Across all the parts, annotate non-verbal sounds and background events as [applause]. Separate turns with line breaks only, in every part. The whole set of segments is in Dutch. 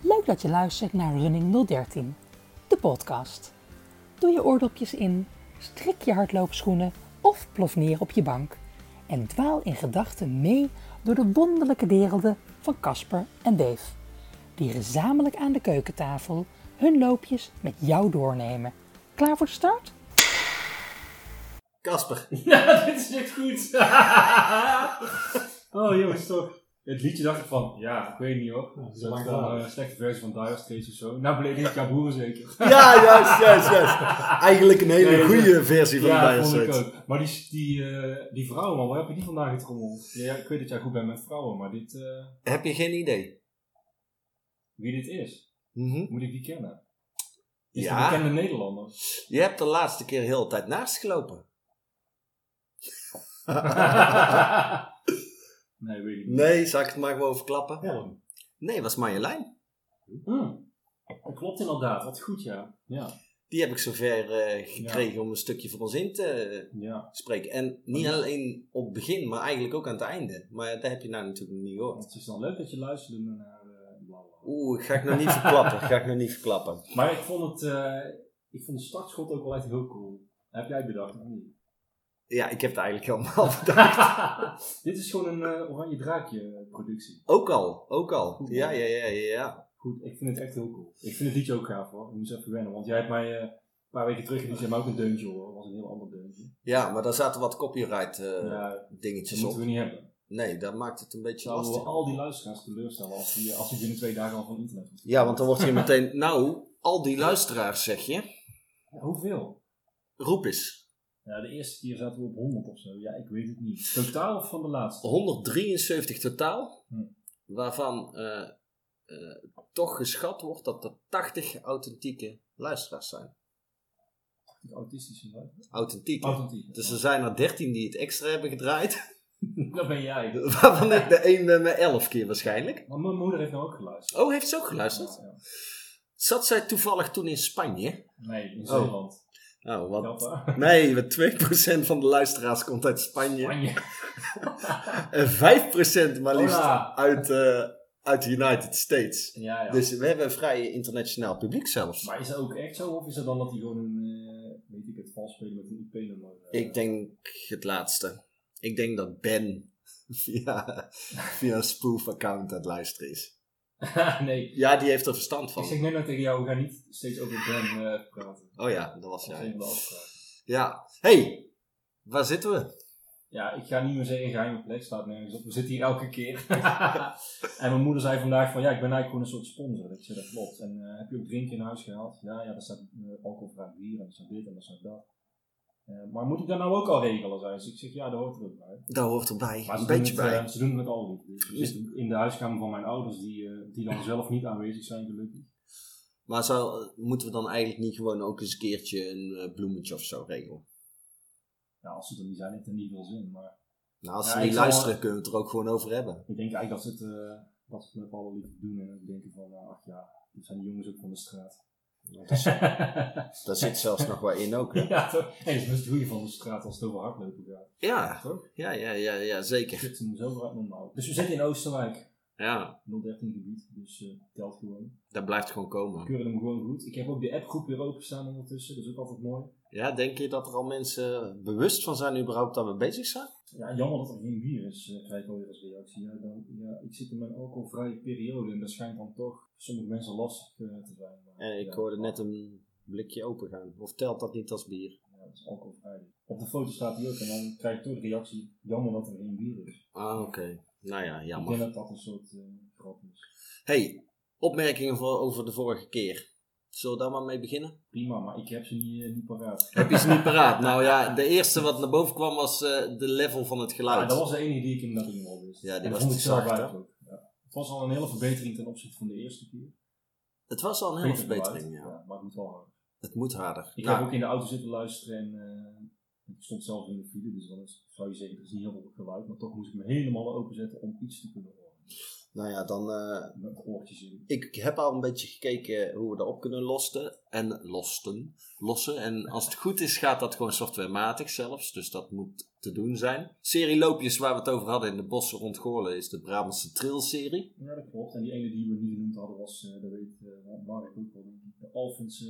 Leuk dat je luistert naar Running 013, de podcast. Doe je oordopjes in, strik je hardloopschoenen of plof neer op je bank en dwaal in gedachten mee door de wonderlijke werelden van Casper en Dave, die gezamenlijk aan de keukentafel hun loopjes met jou doornemen. Klaar voor start?
Kasper.
Ja, dit is echt goed. [laughs] oh, jongens, toch. Het liedje dacht ik van, ja, ik weet niet hoor.
dat
Dat
is
is
een lang
wel
verhaal.
een slechte versie van Dire Straits of zo. Nou beledig ik jouw boeren zeker.
Ja, juist, juist, juist. Eigenlijk een hele
Nee, nee.
goede versie van
ja,
Dire
vond ik
Straits.
ook. Maar die, die, eh, die vrouwen, man, waar heb je die vandaan getrommeld? Ja, ja, ik weet dat jij goed bent met vrouwen, maar dit, eh,
Heb je geen idee?
wie dit is,
Mhm.
moet ik die kennen? Is
Ja.
ja. een bekende Nederlander?
[laughs] Je hebt de laatste keer heel de tijd naast gelopen.
nee, weet ik niet.
Nee, zal ik het maar gewoon verklappen?
Helm.
Nee, was Marjolein.
Hm. Dat klopt inderdaad, wat goed ja. Ja,
Die heb ik zover eh, gekregen om een stukje voor ons in te eh,
ja.
spreken. En niet
Oh, Ja.
alleen op het begin, maar eigenlijk ook aan het einde. Maar dat heb je nou natuurlijk niet gehoord.
Want het is dan leuk dat je luisterde naar eh bla, bla, bla.
Oeh, ga ik nog niet verklappen. Ga ik nog niet verklappen.
Maar ik vond het, eh, ik vond het startschot ook wel echt heel cool. Heb jij bedacht? of [laughs] niet?
Ja, ik heb het eigenlijk [laughs] helemaal bedacht.
Dit is gewoon een eh, oranje draakje productie.
Ook al, ook al. Ja, ja, ja, ja. ja.
Goed, ik vind het echt heel cool. Ik vind het liedje ook gaaf hoor. Ik moest even wennen, want jij hebt mij eh, een paar weken terug gediend, maar ook een deuntje hoor. Dat was een heel ander deuntje.
Ja, maar daar zaten wat copyright eh,
ja, dat
dingetjes op.
moeten we niet hebben.
Nee, dat maakt het een beetje
Zouden we
lastig.
al die luisteraars teleurstellen als die, als die binnen twee dagen al van internet moeten.
Ja, want dan wordt hier meteen, nou, al die luisteraars zeg je,
Ja, hoeveel?
roep eens.
Ja, de eerste keer zaten we op 100 of zo. Ja, ik weet het niet. Oh. Totaal of van de laatste?
173 totaal,
Hm.
waarvan eh, eh, toch geschat wordt dat er 80 authentieke luisteraars zijn.
Autistische luisteraars.
Authentieke.
Authentiek.
Dus er zijn er 13 die het extra hebben gedraaid, [laughs]
dat ben jij.
waarvan ik de één ben met 11 keer waarschijnlijk.
Maar mijn moeder heeft nou ook geluisterd.
Oh, heeft ze ook geluisterd?
Ja, ja.
Zat zij toevallig toen in Spanje?
Nee, in
Oh.
Zeeland.
Oh, wat?
Help
[laughs]
haar.
Nee, want 2% van de luisteraars komt uit Spanje.
Spanje.
En 5% Eh, maar liefst
Hola.
uit, eh, uit de United States.
Ja, ja.
Dus we hebben een vrij internationaal publiek zelfs.
Maar is dat ook echt zo? Of is dat dan dat die gewoon een, eh, weet ik het, vals spelen met een IP-nummer?
Ik denk het laatste. Ik denk dat Ben via, via een spoof-account aan het luisteren is.
[laughs] nee.
Ja, die heeft er verstand
Ik zeg
van.
net nou tegen jou, we gaan niet steeds over Ben eh, praten.
Oh ja, dat was
Dat zijn
jij.
we wel afspraken.
Ja. hey, waar zitten we?
Ja, ik ga niet meer zeggen geheime plek, staat nergens op. We zitten hier elke keer. [laughs] en mijn moeder zei vandaag van, ja, ik ben eigenlijk gewoon een soort sponsor. Ik zei, dat klopt. En eh, heb je ook drinken in huis gehaald? Ja, ja, daar staat eh, alcoholvrij bier en er staat dit en er staat dat. Eh, maar moet ik dat nou ook al regelen? Zei ze. Ik zeg, ja, dat hoort er ook bij.
Daar hoort erbij.
Maar ze
Een
doen
beetje
het,
bij.
eh, ze doen het met al die. Dus we zitten in de huiskamer van mijn ouders, die, eh, die dan zelf niet aanwezig zijn, gelukkig.
Maar zou, moeten we dan eigenlijk niet gewoon ook eens een keertje een eh, bloemetje of zo regelen?
Ja, als ze er niet zijn, heeft het niet veel zin. Maar
Nou, als
Ja,
ze
ik
niet
zal-
luisteren, kunnen we het er ook gewoon over hebben.
ik denk eigenlijk dat ze het, eh, dat ze het met alle liefde doen. En ook denken van, nou, ach ja, dit zijn die jongens ook van de straat.
[laughs] Daar zit zelfs nog wel in ook, hè?
[laughs] ja, toch? Hey, dat is best het goeie van de straat als het over hardlopen gaat.
Ja,
Toch?
ja, ja, ja, ja
Ik
zeker.
zit hem zo uit mijn mouw. Dus we zitten in Oosterwijk,
Ja,
013 gebied, dus eh, telt gewoon.
dat blijft gewoon
We
komen.
keuren hem gewoon goed. Ik heb ook de appgroep weer openstaan ondertussen, dat is ook altijd mooi.
Ja, denk je dat er al mensen bewust van zijn überhaupt dat we bezig zijn?
Ja, jammer dat er geen bier is, eh, krijg ik alweer als reactie. Ja, dan, ja, ik zit in mijn alcoholvrije periode en dat schijnt dan toch voor sommige mensen lastig eh, te zijn. Maar,
En ik
ja,
hoorde net een blikje opengaan. Of telt dat niet als bier?
ja, dat is alcoholvrij. Op de foto staat hij ook en dan krijg ik toch de reactie, jammer dat er geen bier is.
Ah, oké. Nou ja,
Ik denk
jammer.
dat dat een soort eh grap is.
hey, opmerkingen voor, over de vorige keer. Zullen we daar maar mee beginnen?
Prima, maar ik heb ze niet, eh, niet paraat.
Heb je ze niet paraat? Nou ja, de eerste wat naar boven kwam was eh, de level van het
Ja,
geluid.
Ah, dat was de enige die ik inderdaad niet al wist.
Ja, die
En dat
was
vond ik
te
zelf
zacht, hè?
eigenlijk ook. Ja. Het was al een hele verbetering ten opzichte van de eerste keer.
Het was al een hele
Beter geluid,
verbetering, ja.
Maar het moet wel hard.
Het moet harder.
Ik
Nou,
heb ook in de auto zitten luisteren en eh, ik stond zelf in de file, dus dan is, zou je zeggen, er is niet heel veel geluid, maar toch moest ik me helemaal openzetten om iets te kunnen horen.
Nou ja, dan. eh,
Met oortjes in.
ik heb al een beetje gekeken hoe we dat op kunnen losten. En losten. Lossen. En als het goed is, gaat dat gewoon softwarematig zelfs. Dus dat moet te doen zijn. Serie loopjes waar we het over hadden in de bossen rond Goorlen is de Brabantse Trail-serie.
Ja, dat klopt. En die ene die we niet genoemd hadden was, eh dat weet eh Mark ook wel, denk ik. de Alphense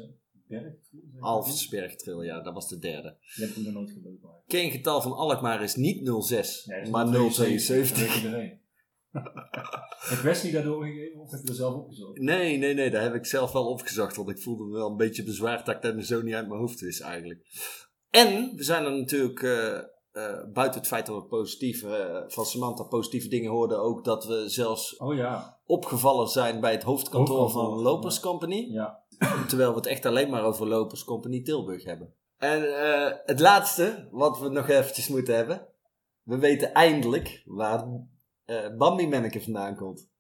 Berg.
Alfensberg Trail, ja, dat was de derde.
Die heb ik nog nooit gelopen eigenlijk.
Geen getal van Alkmaar is niet 06,
Nee, dat is
maar
nog 72.
072.
Dat weet
[laughs]
iedereen. Heb Wesley daar doorgegeven of heb je er zelf opgezocht?
Nee, nee, nee, dat heb ik zelf wel opgezocht. Want ik voelde me wel een beetje bezwaard dat ik dat zo niet uit mijn hoofd wist eigenlijk. En we zijn er natuurlijk, eh, eh, buiten het feit dat we positief, eh, van Samantha positieve dingen hoorden, ook dat we zelfs
Oh ja,
opgevallen zijn bij het hoofdkantoor van
Hoofdkantoor,
Lopers
ja.
Company.
ja.
Terwijl we het echt alleen maar over Lopers Company Tilburg hebben. En eh, het laatste wat we nog eventjes moeten hebben. We weten eindelijk waar eh Bambi Manneke vandaan komt.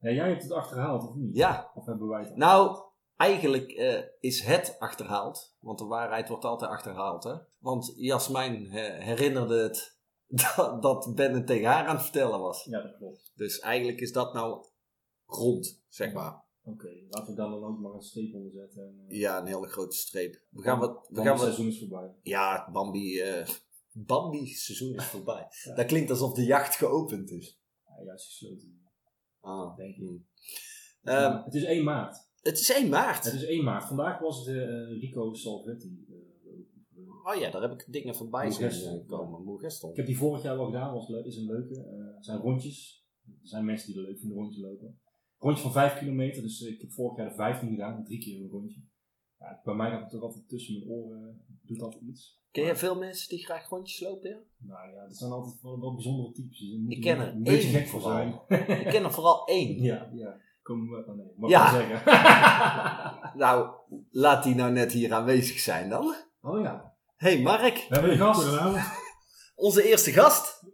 ja. Jij hebt het achterhaald of niet?
Ja,
Of hebben wij het
Nou, eigenlijk eh, is het achterhaald. Want de waarheid wordt altijd achterhaald. Hè? Want Jasmijn eh, herinnerde het [laughs] dat, dat Ben het tegen haar aan het vertellen was.
Ja, dat klopt.
Dus eigenlijk is dat nou rond, zeg maar.
Oké, laten we daar dan ook maar een streep onder zetten. En, eh,
Ja, een hele grote streep. We gaan wat... We
dan
gaan
het
wat
seizoen is voorbij.
ja, Bambi... eh Bambi seizoen is
[laughs]
voorbij. Dat klinkt alsof de jacht geopend is.
Ja, juist gesloten.
Ah.
Denk ik.
Hmm.
Ja,
Ehm,
het is 1 maart.
het is 1
Het
maart.
is 1 maart. Vandaag was de eh, Rico Salvetti. eh,
Oh ja, daar heb ik dingen voorbij zien
Moegestel.
eh, komen. Moegestel.
ik heb die vorig jaar wel gedaan, was, le- is een leuke. Eh, het zijn rondjes. Er zijn mensen die er leuk vinden rondje lopen. Rondje van 5 kilometer, dus ik heb vorig jaar de 15 gedaan, drie keer een rondje. Ja, bij mij gaat het toch altijd tussen mijn oren, eh, doet dat iets.
Ken jij veel mensen die graag rondjes lopen? Ja?
Nou ja, dat zijn altijd wel, wel bijzondere types. Dus daar moet
Ik
je
ken
een
er
beetje
één
gek voor
vooral.
zijn.
Ik ken er vooral
[laughs]
één.
ja, ja. Kom, eh, oh nee, mag
Ja.
ik wel zeggen. [laughs]
Nou, laat die nou net hier aanwezig zijn dan.
oh ja,
hey Mark,
we hebben een gast.
onze eerste gast.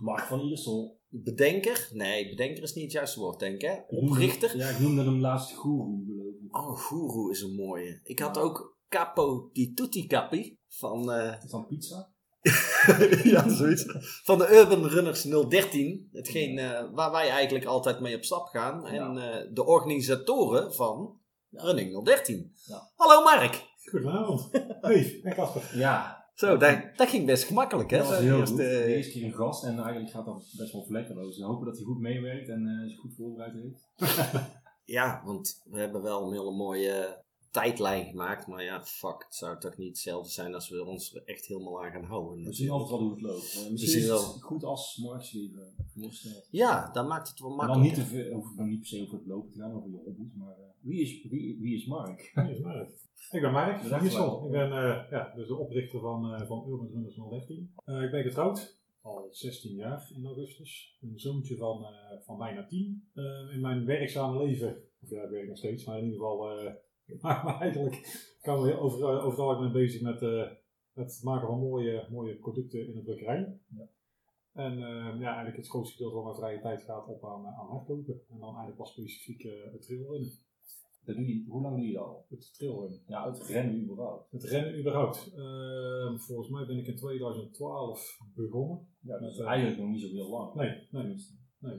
Mark van Iersel.
Bedenker? Nee, bedenker is niet het juiste woord, denk ik. hè? Oprichter?
Ja, ik noemde hem laatst goeroe, geloof ik.
Oh, guru is een mooie. Ik had ook Capo di Tutti Capi van, eh, [laughs]
Het is dan pizza. [laughs]
ja, zoiets. van de Urban Runners 013. Hetgeen eh, waar wij eigenlijk altijd mee op stap gaan. En eh, de organisatoren van Running 013.
Ja.
Hallo Mark.
Goedenavond. Hey, en Casper.
Ja,
Zo, dat, dat ging best gemakkelijk hè?
Dat was
Zo'n
heel
eerste- eh,
goed. De eerste keer een gast en eigenlijk gaat dat best wel vlekkeloos. We hopen dat hij goed meewerkt en eh, zich goed voorbereid heeft.
Ja, want we hebben wel een hele mooie eh, tijdlijn gemaakt. Maar ja, fuck, het zou toch niet hetzelfde zijn als we ons er echt helemaal aan gaan houden. Dus
We zien altijd wel hoe het loopt. Eh, misschien
Misschien
is het
wel.
goed als Marks even voorstelt.
Ja, dat maakt het wel
Maar dan niet,
makkelijk.
te veel, hoef ik dan niet per se over het lopen te gaan, over je hobby's. Maar eh, wie, is, wie, wie is Mark?
Hier is Mark. Ik ben Mark
Bedankt, Mark.
Giesel. Ik ben eh, ja, dus de oprichter van, eh van Urban Runners 013. Eh, ik ben getrouwd, al 16 jaar in augustus. Een zoontje van, eh, van bijna 10. Eh, in mijn werkzame leven, of ja, ik werk nog steeds, maar in ieder geval, eh, [laughs] maar, maar eigenlijk kan we over, eh, overal ik ben bezig met eh, met het maken van mooie, mooie producten in de drukkerij. En eh, ja, eigenlijk het grootste deel van mijn vrije tijd gaat op aan, eh, aan hardlopen. En dan eigenlijk pas specifiek eh, het trailrunnen.
Dat doe je, hoe lang doe je dat al?
Het trailrunnen.
Ja, het rennen überhaupt.
Het rennen überhaupt. Ehm, volgens mij ben ik in 2012 begonnen.
Ja, dat is
Dat, eh,
eigenlijk nog niet zo heel lang.
Nee, nee,
Tenminste.
nee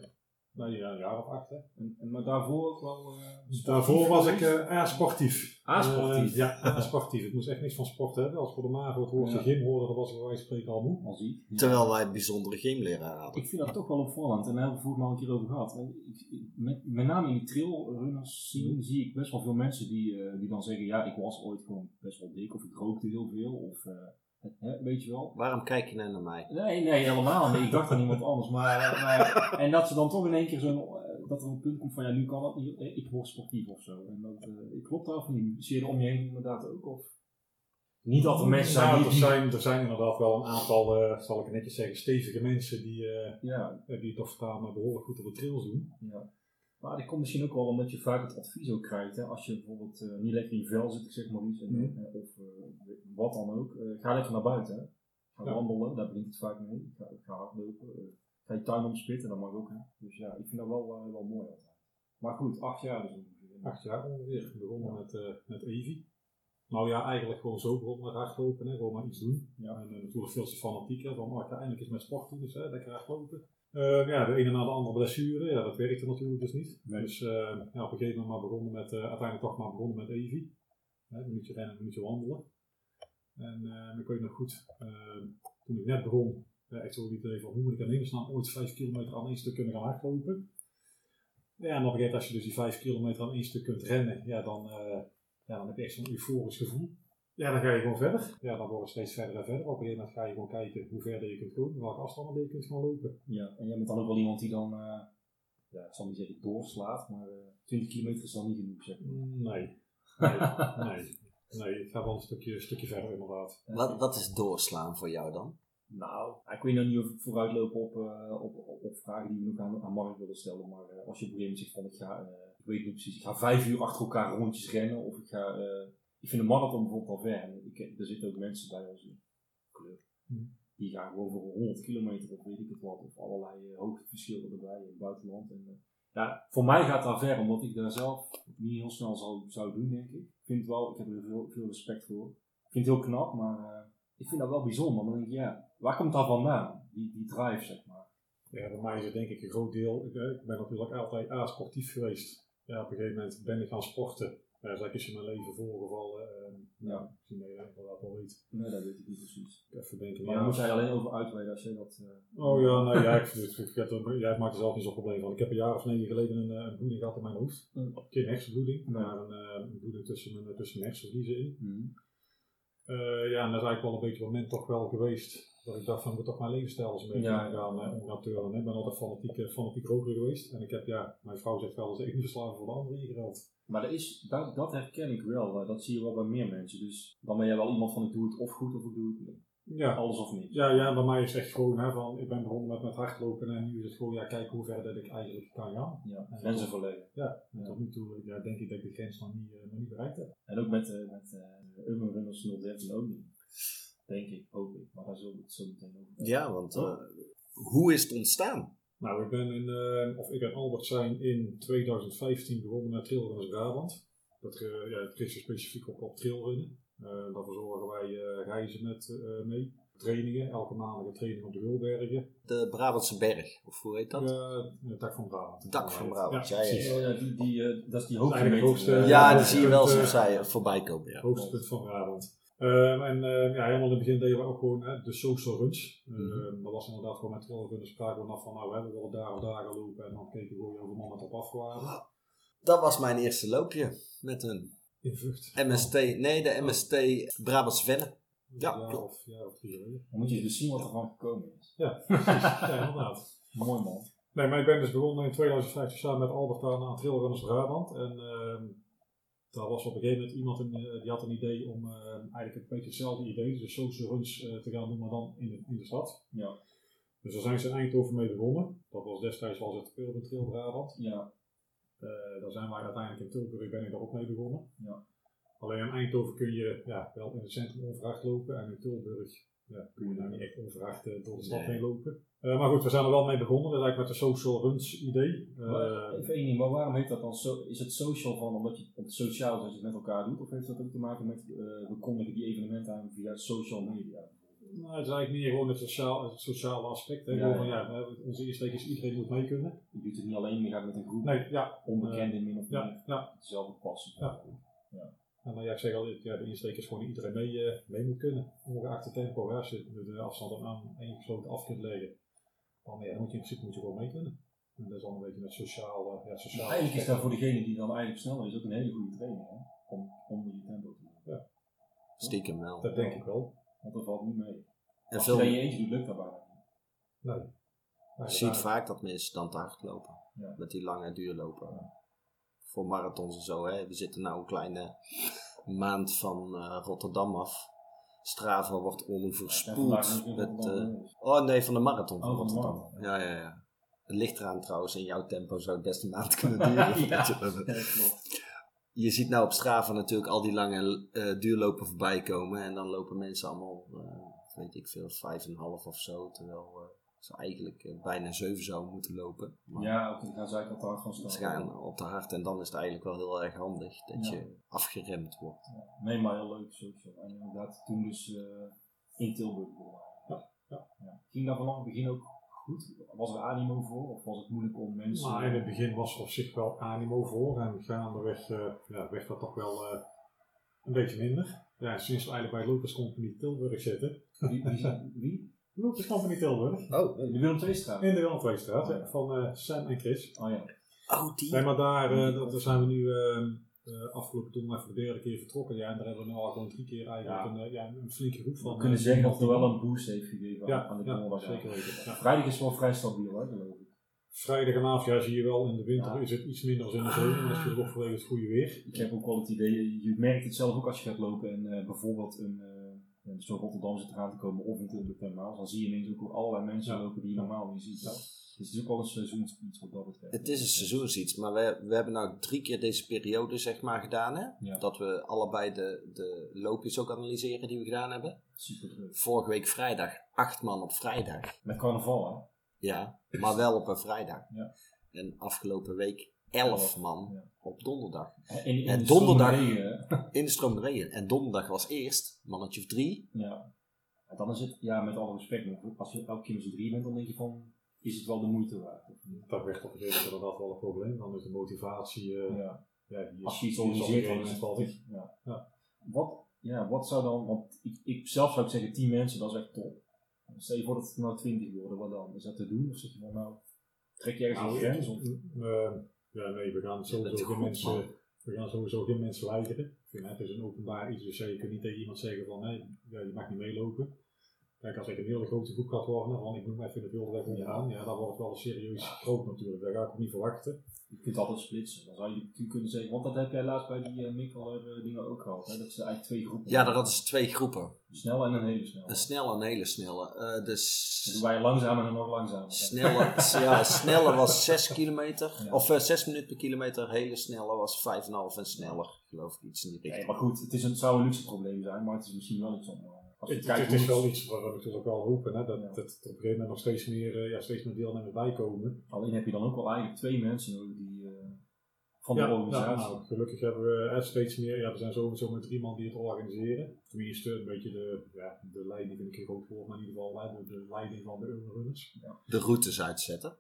ja, een jaar of acht. Hè. Dus
En, en, maar daarvoor ook wel... eh, Dus sportief
Daarvoor was ik
geweest?
eh A-sportief.
A-sportief?
Eh, ja, [laughs] A-sportief. Ik moest echt niks van sport hebben. Als ik voor de maag het woordje
Ja.
gym hoorde, dan was ik bij wijze van spreken al moe.
Al zie ik.
Terwijl wij een bijzondere gymleraar hadden.
Ik vind dat toch wel opvallend en daar hebben we vroeger al een keer over gehad. En ik- ik- Met, met name in die trailrunners zien zie ik best wel veel mensen die, eh, die dan zeggen: Ja, ik was ooit gewoon best wel dik of ik rookte heel veel. Of eh, hè, weet je wel.
Waarom kijk je nou naar mij?
Nee, nee, helemaal niet. Ik dacht aan iemand anders. Maar, eh, maar- en dat ze dan toch in één keer zo'n. eh, dat er een punt komt van: Ja, nu kan dat niet. eh, Ik word sportief of zo. En dat eh, klopt daar of niet? Zie je er om je heen inderdaad ook? Of? Niet dat er mensen zijn
Nou,
die.
er
die-
zijn, er zijn inderdaad wel een aantal, eh, zal ik het netjes zeggen, stevige mensen die, eh,
Ja,
die het toch staan eh, behoorlijk goed op de trails doen.
Ja. Maar dat komt misschien ook wel omdat je vaak het advies ook krijgt. Hè? Als je bijvoorbeeld eh, niet lekker in je vel zit, ik zeg maar iets, en,
Mhm.
eh, of eh, wat dan ook. eh, ga lekker naar buiten. Hè? Ga
Ja.
wandelen, daar begint het vaak mee. Ga, ga hardlopen. eh, ga je tuin omspitten, dat mag ook. Hè? Dus ja, ik vind dat wel, eh, wel mooi altijd. Maar goed, acht jaar dus ongeveer.
Acht jaar ongeveer. Begonnen met, eh met Evi. Nou ja, eigenlijk gewoon zo begonnen met hardlopen, hè. gewoon maar iets doen.
Ja.
En eh, natuurlijk veel te fanatiek, hè, van oh, ik ga eindelijk eens met sport doen, dus hè, lekker hardlopen. Eh, ja, de ene na de andere blessure, ja, dat werkte natuurlijk dus niet.
Nee.
Dus eh, ja, op een gegeven moment maar begonnen met, eh, uiteindelijk toch maar begonnen met Evi. Hè, een minuutje rennen, een minuutje wandelen. En eh ik weet nog goed, eh, toen ik net begon, eh echt zo'n idee van hoe moet ik aan hemelsnaam ooit vijf kilometer aan één stuk kunnen gaan hardlopen. Ja, en op een gegeven moment als je dus die vijf kilometer aan één stuk kunt rennen, ja, dan, eh, ja, dan heb je echt zo'n euforisch gevoel. Ja, dan ga je gewoon verder. Ja, dan wordt het steeds verder en verder. Op een gegeven moment ga je gewoon kijken hoe verder je kunt komen, welke afstanden je kunt gaan lopen.
Ja, en jij bent dan ook wel iemand die dan, eh, ja, ik zal niet zeggen doorslaat, maar eh 20 kilometer is dan niet genoeg, zeg maar.
Nee. Nee. nee. Nee, ik ga wel een stukje, een stukje verder inderdaad.
Wat, wat is doorslaan voor jou dan?
Nou, ik weet nog niet of ik vooruitlopen op, eh, op, op, op vragen die we nog aan, aan Mark willen stellen. Maar eh, als je op een gegeven moment zegt van ik ga, eh, ik weet niet precies, ik ga vijf uur achter elkaar rondjes rennen. Of ik ga, eh, ik vind een marathon bijvoorbeeld al ver. En ik, er zitten ook mensen bij onze club.
Hm.
Die gaan gewoon voor 100 kilometer of weet ik het wat. Of allerlei eh, hoogteverschillen erbij in het buitenland. En, eh, ja, voor mij gaat dat ver, omdat ik daar zelf niet heel snel zou, zou doen, denk ik. Ik vind wel, ik heb er veel, veel respect voor. Ik vind het heel knap, maar... eh, ik vind dat wel bijzonder. Dan denk ik, ja, waar komt dat vandaan? Die, die drive, zeg maar.
Ja, bij mij is het denk ik een groot deel. Ik, eh, ik ben natuurlijk altijd a-sportief geweest. Ja, op een gegeven moment ben ik gaan sporten. Ja, dus dat is in mijn leven voorgevallen. ehm
Ja.
ja, misschien dat je dat inderdaad wel weet.
Nee, dat weet ik niet precies.
Even denken.
Maar
ja.
daar moet jij alleen over uitweiden als jij dat... eh,
Oh ja, nou ja, ik, ik, ik heb er- jij maakt er zelf niet zo'n probleem van. Ik heb een jaar of negen geleden een, eh, een bloeding gehad in mijn hoofd.
Mm.
Geen hersenbloeding,
Nee.
maar een, eh, een bloeding tussen mijn, tussen mijn hersenvliezen in.
Mhm.
hm.
Eh, ja, en dat is eigenlijk wel een beetje het moment toch wel geweest. Dat ik dacht van, ik moet toch mijn levensstijl eens een beetje
Ja.
gaan eh, om gaan turnen. Ik ben altijd fanatiek, eh, fanatiek roker geweest. En ik heb, ja, mijn vrouw zegt wel eens, ik niet verslaven voor de andere ingereld.
Maar dat, is, dat, dat herken ik wel. eh, Dat zie je wel bij meer mensen. Dus dan ben jij wel iemand van ik doe het of goed of ik doe het niet.
Ja.
Alles of niks.
Ja, ja, bij mij is het echt gewoon, hè, van, ik ben begonnen met, met hardlopen en nu is het gewoon, ja, kijken hoe ver dat ik eigenlijk kan gaan.
Ja, grenzen verleggen.
Ja, en
Ja.
tot nu toe ja, denk ik dat ik de grens nog niet, eh, nog niet bereikt heb.
En ook met, eh met eh Urban Runners 013 ook niet. Denk ik, hoop ik. Maar daar zullen we het zo meteen over hebben. Oh,
Ja, want eh, hoe is het ontstaan?
Nou, ik ben in, eh, of ik en Albert zijn in 2015 begonnen met Trailrunners Brabant. Dat, eh, ja, dat richt zich specifiek op, op trailrunnen. Eh daar verzorgen wij eh, reizen met, eh, mee. Trainingen, elke maandag een training op de Hulbergen.
De Brabantse Berg, of hoe heet dat?
Eh het dak van Brabant.
Dak van Brabant, ja, ja, ja.
precies.
Oh ja, die, die, eh, dat is die
Dat is
hoogtemeter.
eigenlijk het
eh,
hoogste-
Ja,
dat
die
is
zie je wel
het,
zoals
eh,
zij eh, voorbij komen. Ja.
hoogste punt van Brabant. Ehm, en ehm, ja, helemaal in het begin deden we ook gewoon hè, de social runs. Ehm, Dat was inderdaad gewoon met trailrunners spraken we af van nou, hè, we willen daar of daar gaan lopen. En dan keken we gewoon hoeveel mannen erop af waren.
Dat was mijn eerste loopje met een
In Vught.
MST, nee, de MST Brabants Venne. Ja,
Ja,
klopt.
of, ja, of drie geleden.
Dan moet je dus zien wat er van gekomen is.
Ja, precies. ja, inderdaad.
Mooi man.
Nee, maar ik ben dus begonnen in 2015 samen met Albert aan, aan Trailrunners Brabant. En ehm, daar was op een gegeven moment iemand in, eh, die had een idee om ehm, eigenlijk een beetje hetzelfde idee, dus social runs eh, te gaan doen, maar dan in de, in de stad.
Ja.
Dus daar zijn ze in Eindhoven mee begonnen. Dat was destijds was het Urban Trail Brabant.
Ja,
Eh, daar zijn wij uiteindelijk in Tilburg ben ik daar ook mee begonnen.
Ja.
Alleen in Eindhoven kun je ja, wel in het centrum onverwacht lopen en in Tilburg ja, kun je daar niet echt onverwacht eh, door de stad
Nee.
heen lopen. Eh, maar goed, we zijn er wel mee begonnen. Dat is eigenlijk met de social runs idee. Eh,
maar even één ding, maar waarom heet dat dan zo? Is het social van omdat je het sociaal is dat je het met elkaar doet? Of heeft dat ook te maken met eh, we kondigen die evenementen aan via social media?
nou, het is eigenlijk meer gewoon het, sociaal, het sociale aspect. Hè?
Ja,
Gewoon van,
ja.
ja, we hebben- onze eerste week is iedereen moet mee kunnen.
Je doet het niet alleen, je gaat met een groep
Nee, ja,
onbekenden min of meer
ja, ja.
dezelfde passie.
Ja. En nou ja, ik zeg al, ja, de insteek is gewoon dat iedereen mee, eh, mee moet kunnen. Ongeacht het tempo, hè, als je de afstand aan één gesloten af kunt leggen, dan, ja, dan moet je in principe moet je gewoon mee kunnen. En dat is dan een beetje het sociaal. eh, Ja,
Dus
het sociaal
eigenlijk is
aspect.
dat voor degene die dan eigenlijk sneller is ook een hele goede training hè? om onder je tempo te doen.
Stiekem wel.
Dat denk ik wel.
Want dat valt niet mee.
En
Als je dat in je
veel
eentje doet, lukt dat bijna niet.
Nee. Nee,
je ziet
daar-
vaak dat mensen dan te hard lopen.
Ja.
Met die lange duurlopen. Voor marathons en zo. Hè. We zitten nou een kleine maand van eh, Rotterdam af. Strava wordt
En vandaag
onverspoeld.
is het
Met,
wel-
eh, [laughs] oh nee, van de marathon van
Oh, van de
Rotterdam.
marathon.
Ja, ja, ja. Het ligt eraan trouwens. In jouw tempo zou het best een
[laughs]
maand kunnen duren.
Ja.
voordat je-
Ja, dat klopt.
je ziet nou op Strava natuurlijk al die lange eh, duurlopen voorbij komen. En dan lopen mensen allemaal, eh, weet ik veel, vijf en een half of zo. Terwijl eh, ze eigenlijk eh, bijna zeven zouden moeten lopen. Maar
Ja, oké, dan gaan ze eigenlijk wat hard van
ze
staan.
gaan op de hart. En dan is het eigenlijk wel heel erg handig dat
Ja.
je afgeremd wordt.
Nee, maar heel leuk social. En inderdaad, toen dus eh, in Tilburg begonnen.
Ja, ja.
Ging dat vanaf het begin ook goed? Was er animo voor? Of was het moeilijk om mensen...
Maar in het begin was er op zich wel animo voor en gaandeweg eh ja, werd dat toch wel eh, een beetje minder. Ja, sinds we eigenlijk bij Lucas Company Tilburg zitten.
Wie? wie, wie?
Lucas Company Tilburg.
Oh,
De Willem Tweestraat?
In de Willem-Tweestraat hè, van eh, Sam en Chris.
Oh ja.
oh die.
Nee, maar daar, eh, dat, daar zijn we nu eh, eh, afgelopen donderdag voor de derde keer vertrokken. Ja, en daar hebben we nu al gewoon drie keer eigenlijk
Ja.
een, eh, ja, een flinke groep van.
We kunnen
eh,
zeggen dat het wel een boost heeft gegeven
Ja,
aan de
ja,
donderdag.
zeker weten. Ja.
Vrijdag is wel vrij stabiel, hè, geloof ik.
Vrijdag en avond, ja, zie je wel, in de winter
Ja.
is het iets minder als in de zomer. Maar dat is natuurlijk ook vanwege het goede weer.
Ik heb ook wel het idee, je merkt het zelf ook als je gaat lopen en eh, bijvoorbeeld een, eh een soort Rotterdam zit eraan te komen of een Tilburg normaal. Dan zie je ineens ook allerlei mensen
Ja.
lopen die je normaal niet ziet. Dus het is ook wel een seizoensiets wat dat betreft.
Het is een seizoensiets, maar we, we hebben nou drie keer deze periode zeg maar gedaan hè.
Ja.
Dat we allebei de, de loopjes ook analyseren die we gedaan hebben.
Super druk.
Vorige week vrijdag, acht man op vrijdag.
Met carnaval, hè?
Ja, maar wel op een vrijdag.
Ja.
En afgelopen week elf
Ja.
man
Ja.
op donderdag.
En in, in
En
de
donderdag-
zomerregen, hè.
In de stroom regen. En donderdag was eerst mannetje of drie.
Ja. En dan is het, ja, met alle respect, maar als je elke keer met z'n drie bent, dan denk je van, is het wel de moeite waard? Of niet?
Dat werd op een gegeven moment inderdaad wel een probleem. Dan is de motivatie, eh,
Ja.
ja, die is,
Als je iets
die is
organiseert,
op een
dan is
gegeven
het
moment altijd.
altijd. Ja.
Ja.
Wat, ja, wat zou dan, want ik, ik zelf zou ik zeggen, 10 mensen, dat is echt top. Stel je voor dat het er nou 20 worden, wat dan? Is dat te doen? Of zeg je van, nou, trek je ergens
Nou,
een grens? Of,
eh, ja, nee, we gaan
bent
sowieso geen
goed,
mensen,
man.
we gaan sowieso geen mensen weigeren. Ik vind, hè, Het is een openbaar iets, dus hè, je kunt niet tegen iemand zeggen van, nee, ja, je mag niet meelopen. Kijk, als ik een hele grote groep gaat worden, want ik noem even de wilde weg onderaan, ja, dan wordt het wel serieus groot natuurlijk. Daar ga ik ook niet verwachten.
je kunt het altijd splitsen. Dan zou je natuurlijk kunnen zeggen, want dat heb jij laatst bij die uh, dingen ook gehad. Hè? Dat ze eigenlijk twee groepen
Ja, daar hadden ze twee groepen.
Snel en een hele snel.
Een snelle en een hele snelle. Eh, de
Dan
s-
doen wij langzamer en nog langzamer.
snelle, [laughs] ja, snelle was 6 kilometer.
Ja.
Of eh, 6 minuten per kilometer. Hele snelle was 5,5 en sneller. Geloof ik iets in die
Nee,
richting.
maar goed, het, is een, het zou een luxe probleem zijn, maar het is misschien wel iets om... eh, Als je
Het,
kijkt
het
hoe
is wel
het-
iets waar we natuurlijk ook wel hopen, hè, dat,
Ja.
dat er op een gegeven moment nog steeds meer, eh, ja, steeds meer deelnemers bijkomen.
Alleen heb je dan ook wel eigenlijk twee mensen nodig die... eh, van de
Ja,
organisatie.
nou, nou, gelukkig hebben we eh, steeds meer, ja, er zijn sowieso met drie man die het organiseren. Tenminste, een beetje de, ja, de leiding vind ik een groot woord, maar in ieder geval hè, de, de leiding van de Eurorunners.
De routes uitzetten.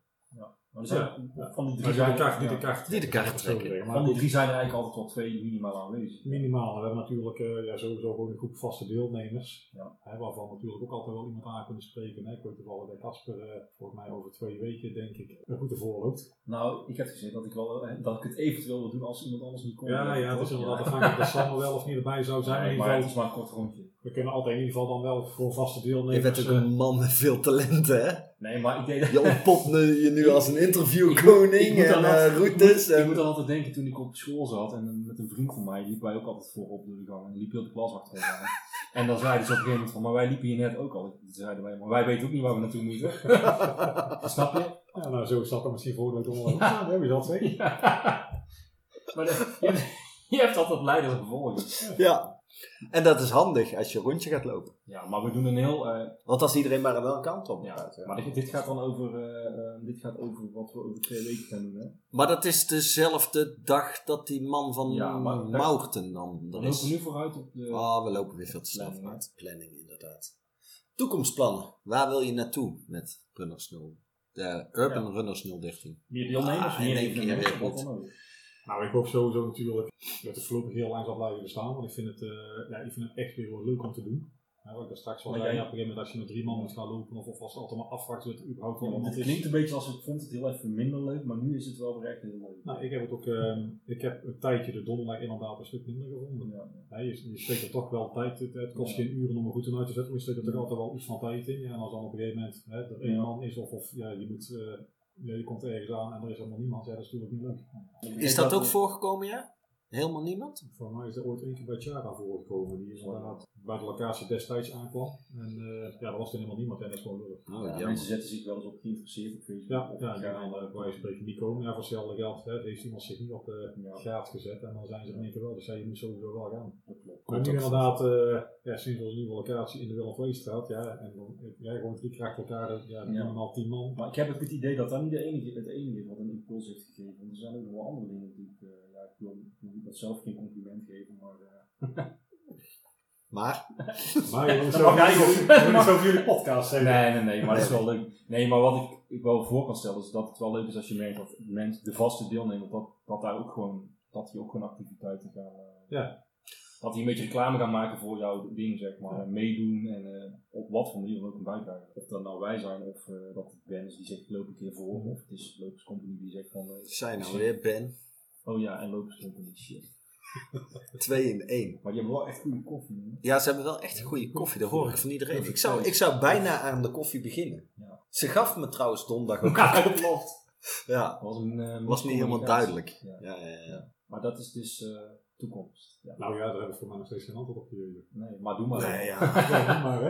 Maar er zijn, Van die drie
Ja,
zijn
die de kaart, die de
ja.
kaart,
Die de kaart
laat ik het zo
trekken.
zeggen.
Van
Maar
die drie zijn er eigenlijk altijd wel twee minimaal aanwezig.
minimaal, we hebben natuurlijk eh, ja, sowieso gewoon een groep vaste deelnemers,
Ja.
hè, waarvan natuurlijk ook altijd wel iemand aan kunnen spreken. Hè. Ik weet toevallig bij Casper, eh, volgens mij over twee weken denk ik, een goede voorloopt.
Nou, ik heb gezegd dat ik, wel, eh, dat ik het eventueel wil doen als iemand anders niet komt.
Ja, ja, het is inderdaad afhankelijk dat Sam er wel of niet erbij zou zijn. in
Nee,
ieder
maar het
geval,
is maar een kort rondje.
we kunnen altijd in ieder geval dan wel voor vaste
Je
deelnemers...
bent ook
eh,
een man met veel talenten, hè?
Nee, maar ik deed
[laughs]
dat.
Je ontpopt nu- je nu als een
Ik
interviewkoning
moet
en
dan altijd-
eh,
ik
routes.
moet- Ik moet
En...
dan altijd denken toen ik op school zat en eh, met een vriend van mij liep wij ook altijd voorop door de gang en liep heel de klas achter
[laughs]
elkaar. En dan zeiden ze op een gegeven moment van, maar wij liepen hier net ook al. Toen zeiden wij, maar wij weten ook niet waar we naartoe moeten.
[laughs]
Snap je?
Ja, nou, zo zat er misschien voor dat ik onderloop. Ja, dat heb je dat zeker.
Maar de- je, hebt, je hebt altijd leiders en volgers.
Ja. En dat is handig als je een rondje gaat lopen.
Ja, maar we doen een heel. eh,
Want als iedereen maar aan welke kant op
ja,
gaat.
maar dit, dit gaat dan over, eh, eh, dit gaat over wat we over twee weken gaan doen. Hè?
Maar dat is dezelfde dag dat die man van
Ja, maar dat-
Maurten dan
Dan
er
lopen we
is.
nu vooruit op de.
Ah, we lopen weer veel te snel
Planning,
vooruit. Planning, inderdaad. Toekomstplannen. Waar wil je naartoe met Runners 0? De Urban Runners 013.
meer deelnemers,
Ah,
meer
in één
evenementen,
keer,
wat
goed.
dan ook.
Nou, ik hoop sowieso natuurlijk dat het voorlopig heel lang zal blijven bestaan. Want ik vind het, eh, ja, ik vind het echt weer wel leuk om te doen. Ja, wat ik daar straks al
Maar
zei,
jij-
ja, op een gegeven moment als je met drie man moet gaan lopen of, of als het altijd maar afwacht dat het überhaupt wel
Ja, want
iemand
het
is.
klinkt een beetje als ik vond het heel even minder leuk, maar nu is het wel weer echt heel leuk.
Ah,
Nou, ik heb het ook, ehm, ik heb een tijdje de donderdag inderdaad een stuk minder gevonden.
Ja.
Ja, je, je steekt er toch wel tijd in. Het kost
Ja.
geen uren om er goed in uit te zetten, maar je steekt er toch
Ja.
altijd wel iets van tijd in. Ja, en als dan op een gegeven moment hè, er één
Ja.
man is of, of ja, je, moet, eh, ja, je komt ergens aan en er is helemaal niemand, ja, dat is natuurlijk niet leuk.
Is dat ook voorgekomen, ja? Helemaal niemand?
Voor mij is er ooit één keer bij Chara voorgekomen. Die is inderdaad bij de locatie destijds aankwam. En eh, ja, er was er helemaal niemand en dat is gewoon lullig.
Oh,
Ja,
jammer.
mensen zetten zich wel eens op geïnteresseerd op Facebook.
Ja,
Of
ja,
gaan
die gaan
dan,
dan
eh,
bij spreken niet komen. Ja, voor hetzelfde geld hè, heeft iemand zich niet op de
Ja.
graad gezet en dan zijn ze in één keer wel. Dus ja, je moet sowieso wel gaan.
Dat klopt.
Maar nu inderdaad, eh, ja, sinds onze nieuwe locatie in de Willem Vleestraat, ja, en dan eh, ja, gewoon drie keer achter elkaar, eh, ja, minimaal tien [laughs] man.
Maar ik heb ook het idee dat dat niet de enige, het enige is wat een impuls heeft gegeven. Want er zijn ook nog wel andere dingen natuurlijk. eh, ja, ik wil, ik wil dat zelf geen compliment geven, maar eh,
Maar,
Maar eh, jongens,
Dat
zo
mag
jullie-
eigenlijk
jullie-
ook.
jullie moeten over jullie podcast zeggen.
Nee, nee, nee, maar dat is wel leuk. Nee, maar wat ik, ik wel voor kan stellen is dat het wel leuk is als je merkt dat mensen, de vaste deelnemer, dat, dat daar ook gewoon, dat die ook gewoon activiteiten gaan. eh,
Ja.
Dat die een beetje reclame gaan maken voor jouw ding, zeg maar. En meedoen en eh, op wat voor manier dan ook een bijdrage. Of dat nou wij zijn of eh, dat het Ben is die zegt loop een keer voor. Of het is Lopers Company die zegt van, eh,
zijn nou weer Ben,
oh ja, en Lopers Company, shit.
2 in 1.
Maar die hebben wel echt goede koffie, man.
Ja, ze hebben wel echt een goede koffie, dat hoor ik van iedereen. Ik zou, ik zou bijna aan de koffie beginnen.
Ja.
Ze gaf me trouwens donderdag ook een klopt. Ja,
Dat was, een, eh,
was niet helemaal duidelijk.
miscommunicatie. Ja.
Ja, ja, ja.
Maar dat is dus eh, toekomst. Ja.
Nou ja, daar heb ik voor mij nog steeds geen antwoord op gegeven.
Nee, maar doe maar.
Nee, ja.
Ja, maar hè.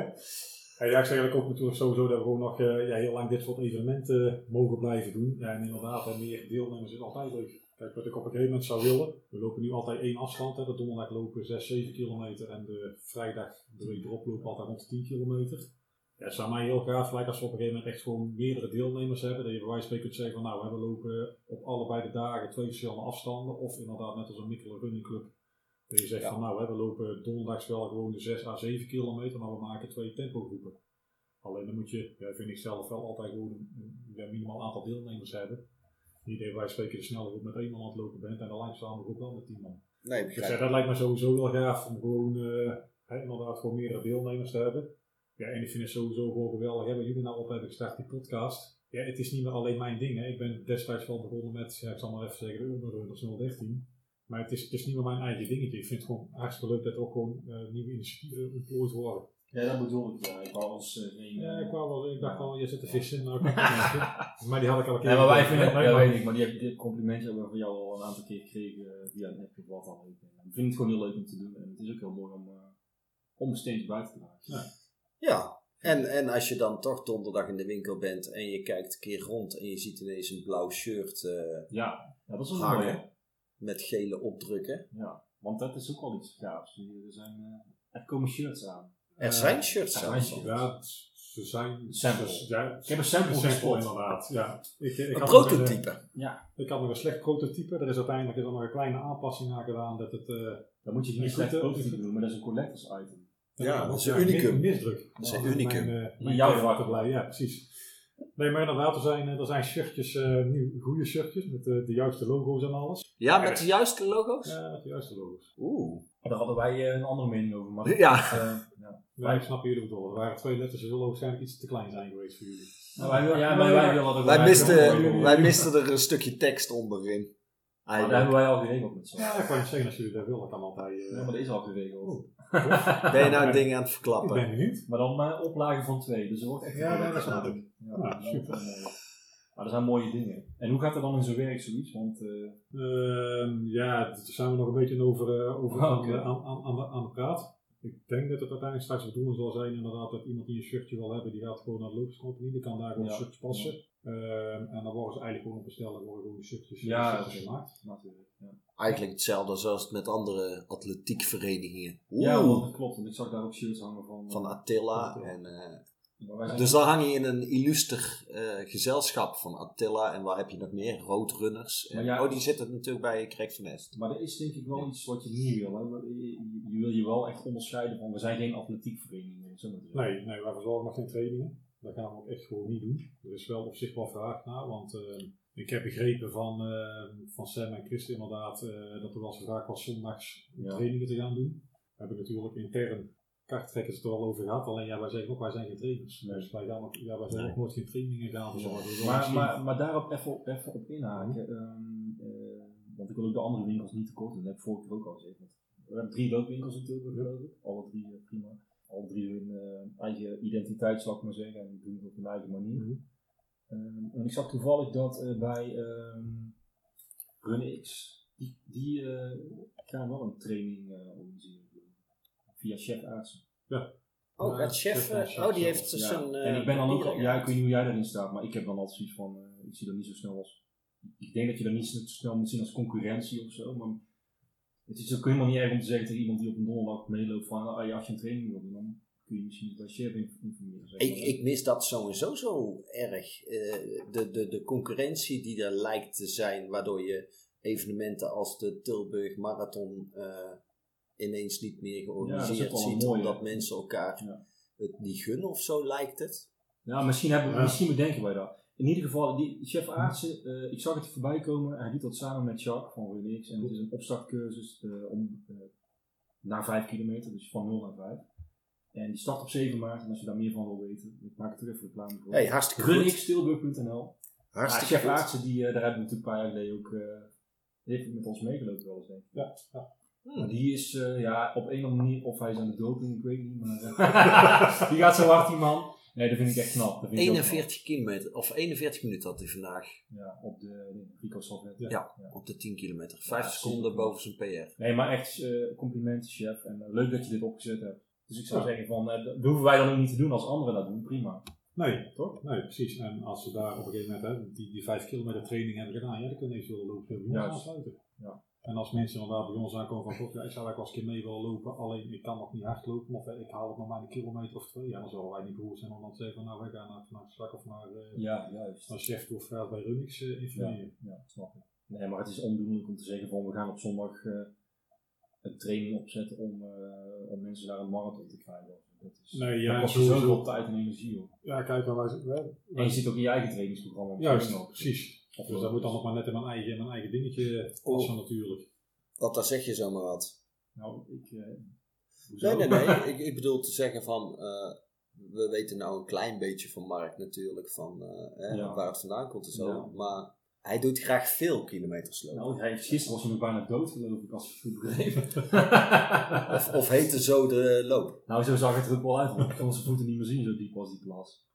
Ja, ja, ik zeg eigenlijk ook natuurlijk sowieso dat we gewoon nog eh, ja, heel lang dit soort evenementen mogen blijven doen. Ja, en inderdaad, hè, meer deelnemers is altijd leuk. Kijk, wat ik op een gegeven moment zou willen, we lopen nu altijd één afstand. Hè. De donderdag lopen 6, 7 kilometer en de vrijdag, de week erop lopen altijd rond de 10 kilometer. Ja, het zou mij heel graag lijken als we op een gegeven moment echt gewoon meerdere deelnemers hebben. Dat je bij wijze van spreken kunt zeggen van nou, we lopen op allebei de dagen twee verschillende afstanden. Of inderdaad net als een Mikkelen Running Club. Dat je zegt
Ja.
van nou, hè, we lopen donderdags wel gewoon de 6 à 7 kilometer, maar we maken twee tempogroepen. Alleen dan moet je, ja, vind ik zelf wel altijd gewoon een, een- ja, minimaal aantal deelnemers hebben. Niet dat je bij wijze van spreken de snelle groep met één man aan het lopen bent en de langzame groep wel met tien man.
Nee,
Dus ja, dat lijkt me sowieso wel gaaf om gewoon eh, hè, inderdaad gewoon meerdere deelnemers te hebben. Ja, en ik vind het sowieso gewoon geweldig hè, wat jullie nou op hebben gestart, die podcast. Ja, het is niet meer alleen mijn ding. Hè. Ik ben destijds wel begonnen met, ja, ik zal maar even zeggen, de Urban Runners 013. Maar het is, het is niet meer mijn eigen dingetje. Ik vind het gewoon hartstikke leuk dat er ook gewoon eh, nieuwe initiatieven ontplooid worden.
Ja, dat bedoel ik. Ja. Ik wou ons eh, geen...
Ja,
eh,
ik, wou wel, ik dacht al, je zit te vissen. Nou, ik kan het
[laughs]
niet. maar die had ik al een keer.
Nee, maar wij
gekocht.
vinden het,
Nee,
ja,
maar-
weet ik, maar die heb, dit complimentje hebben we van jou al een aantal keer gekregen eh, via een appje of wat dan ook. En Ik vind het gewoon heel leuk om te doen en het is ook heel mooi om, eh, om steeds buiten te maken.
Ja, en, en als je dan toch donderdag in de winkel bent en je kijkt een keer rond en je ziet ineens een blauw shirt eh,
Ja, ja dat is wel mooi.
hangen
hè?
met gele opdrukken.
Ja, want dat is ook al iets gaafs. Je- Er, zijn, eh, er komen shirts aan.
Er zijn shirts
er
zelfs.
zijn
al.
Ja, het- ze zijn.
Samples.
Ja,
Ik heb een sample
sample
gespot.
inderdaad. Ja. Ik, eh, ik
Een
had nog een-
prototype.
Ja,
Ik had nog een slecht prototype. Er is uiteindelijk is er nog een kleine aanpassing aan gedaan. Dat het, eh
dan moet je het niet
Is goed,
slecht
hè?
prototype doen, maar dat is een collectors item.
Ja, dat is
ja,
een unicum.
mis- Misdruk.
Dat is een
Ja,
unicum.
Mijn, eh,
In
mijn
jouw
tijd
vak.
te blij- Ja, precies. Nee, maar inderdaad, er zijn, eh, er zijn shirtjes, eh nu goede shirtjes, met eh, de juiste logo's en alles.
Ja, met de juiste logo's?
Ja, met de juiste logo's.
Oeh.
Daar hadden wij eh, een andere mening over, maar
Ja.
eh,
[laughs]
ja.
Maar ik snap jullie bedoel. Er waren twee letters, ze zullen waarschijnlijk iets te klein zijn geweest voor jullie.
Nou, wij, wil- ja, maar wij willen dat
Wij misten,
Maar
wij misten er een stukje tekst onderin. eh,
dat hebben
Eigenlijk.
wij al geregeld met z'n allen.
Ja, ik kan je zeggen als jullie dat willen, kan altijd. eh,
Ja, maar dat is al geregeld.
Oh. Ben je nou dingen aan het
ik
verklappen?
ben benieuwd.
Maar dan maar oplagen van twee. Dus er wordt echt
Ja,
een-
ja, dat snap ik.
Ja,
Ja,
dat is
super.
wel mooi. Maar dat zijn mooie dingen. En hoe gaat er dan in zijn werk zoiets? Want eh,
Ehm, ja, daar zijn we nog een beetje over, eh, over aan,
Oké.
aan, aan, aan de, aan de praat. Ik denk dat het uiteindelijk straks de bedoeling zal zijn inderdaad dat iemand die een shirtje wil hebben, die gaat gewoon naar de loopscompagnie, die kan daar gewoon
Ja.
een shirtje passen. Ehm, en dan worden ze eigenlijk gewoon op bestellen, worden gewoon shirtjes,
Ja, dat
shirtjes
is-
gemaakt.
natuurlijk. Ja,
Eigenlijk hetzelfde zoals met andere atletiekverenigingen.
ja want
Oeh.
dat klopt. Want ik zag daar ook shirts hangen van. eh,
Van Attila. En, eh,
maar wij zijn-
dus dan hang je in een illuster eh, gezelschap van Attila. En waar heb je nog meer? Roodrunners. En,
Maar ja-
oh, die zitten natuurlijk bij Craig van Est.
maar er is denk ik wel iets wat je niet wil. Hè? Je, je- je wil je wel echt onderscheiden van we zijn geen atletiekvereniging. eh, zo maar te zeggen.
Nee, nee, wij verzorgen nog geen trainingen. Dat gaan we ook echt gewoon niet doen. Er is wel op zich wel vraag naar, want eh, ik heb begrepen van, eh, van Sam en Christen inderdaad eh, dat er wel eens vraag was zondags om
Ja.
trainingen te gaan doen. We hebben natuurlijk intern karttrekkers het er al over gehad, alleen ja, wij zeggen ook wij zijn geen trainers.
Nee.
Dus wij, gaan ook, ja, wij zijn
Nee.
ook nooit geen trainingen gaan verzorgen. Dus
Maar,
misschien-
maar, maar daarop even op, even op inhaken. ehm, eh, want ik wil ook de andere winkels niet tekort doen. Dat heb ik vorige keer ook al gezegd. Want We hebben drie loopwinkels in Tilburg, geloof ik. Alle drie eh, prima. Alle drie hun eh, eigen identiteit, zou ik maar zeggen. En doen het op hun eigen manier.
Mhm.
Ehm, en ik zag toevallig dat eh, bij ehm RunX, die, die eh, gaan wel een training eh, organiseren. geloof ik. Via chef Aartsen.
Oh,
Ja,
dat chef.
chef,
eh,
chef
oh, die
zelf.
heeft dus
ja.
een. eh,
en ik ben dan ook,
papier
al- ja, ik weet niet hoe jij daarin staat, maar ik heb dan altijd zoiets van, eh, ik zie dat niet zo snel als, ik denk dat je dat niet zo snel moet zien als concurrentie of zo, maar het is ook helemaal niet erg om te zeggen tegen iemand die op een donderdag meeloopt van, ah, ja, als je een training wil doen, dan kun je misschien bij chef in- informeren. zeg
Ik,
maar.
ik mis dat sowieso zo erg. Eh, de, de, de concurrentie die er lijkt te zijn, waardoor je evenementen als de Tilburg Marathon eh, ineens niet meer
Ja, dat
georganiseerd
is ook wel
ziet,
mooi,
omdat
hè?
mensen elkaar
Ja.
het niet gunnen of zo lijkt het.
Nou, misschien, hebben,
Ja.
misschien bedenken wij dat. In ieder geval, die chef Aartsen, eh, ik zag het voorbij komen. Hij doet dat samen met Jacques van Relix. En het is een opstartcursus eh, om, eh, naar 5 kilometer, dus van 0 naar 5. En die start op 7 maart. En als je daar meer van wil weten, ik maak het terug voor reclame voor.
Hey, hartstikke goed.
Runxtilburg.nl. Ah,
Hartstikke
chef
goed.
Aartsen, die, eh, daar hebben we natuurlijk een paar jaar geleden ook eh, heeft met ons meegelopen wel eens. denk ik.
Ja, ja.
Hmm.
Maar die is eh, ja, op een of andere manier, of hij is aan de doping, ik weet niet. Maar, eh, die gaat zo hard, die man. Nee, dat vind ik echt knap. Dat vind ik ook knap.
41 kilometer, of 41 minuten had hij vandaag
Ja, op de Rico Salvet.
Ja.
Ja. op de 10 kilometer. 5
Ja,
seconden
superknap.
boven zijn PR.
Nee, maar echt eh, complimenten, chef. En eh, leuk dat je dit opgezet hebt. Dus ik zou zeggen, van, eh, dat hoeven wij dan ook niet te doen als anderen dat doen. Prima.
Nee, toch? Nee, precies. En als ze daar op een gegeven moment hè, die, die vijf kilometer training hebben gedaan, ja, dan kunnen ze wel lopen bij ons
Juist.
aansluiten.
Ja.
En als mensen inderdaad bij ons aankomen van, god, ja, ik zou eigenlijk wel eens een keer mee willen lopen, alleen ik kan nog niet hard lopen, of eh, ik haal het nog maar een kilometer of twee, ja, dan zullen wij niet beroerd zijn om dan te zeggen van, nou, wij gaan naar, naar het strak of naar, eh
Ja, juist.
naar Chef of eh, bij Runix eh, informeren.
Ja, snap ik. Nee, maar het is ondoenlijk om te zeggen van we gaan op zondag eh, een training opzetten om, eh, om mensen daar een marathon te krijgen. Dat is,
Nee, ja,
dat kost
sowieso.
zoveel tijd en energie hoor.
Ja, kijk, maar wij, wij,
En je zit ook in je eigen trainingsprogramma. op
juist,
zondag.
precies.
Of eh,
Dus dat moet dan nog maar net in mijn eigen, in mijn eigen dingetje eh,
Oh.
passen natuurlijk.
Wat daar zeg je zomaar wat?
Nou, ik... eh, hoezo?
Nee, nee,
[laughs]
nee. ik, ik bedoel te zeggen van, eh, we weten nou een klein beetje van Mark natuurlijk, van eh, hè,
Ja.
waar het vandaan komt en zo.
Ja.
Maar hij doet graag veel kilometers lopen.
Nou, hij, gisteren was hij nog bijna dood geloof ik, als ik het goed begreep.
[laughs]
Of, of heet het zo de loop.
nou, zo zag het er ook wel uit, want ik kon zijn voeten niet meer zien, zo diep was die plas.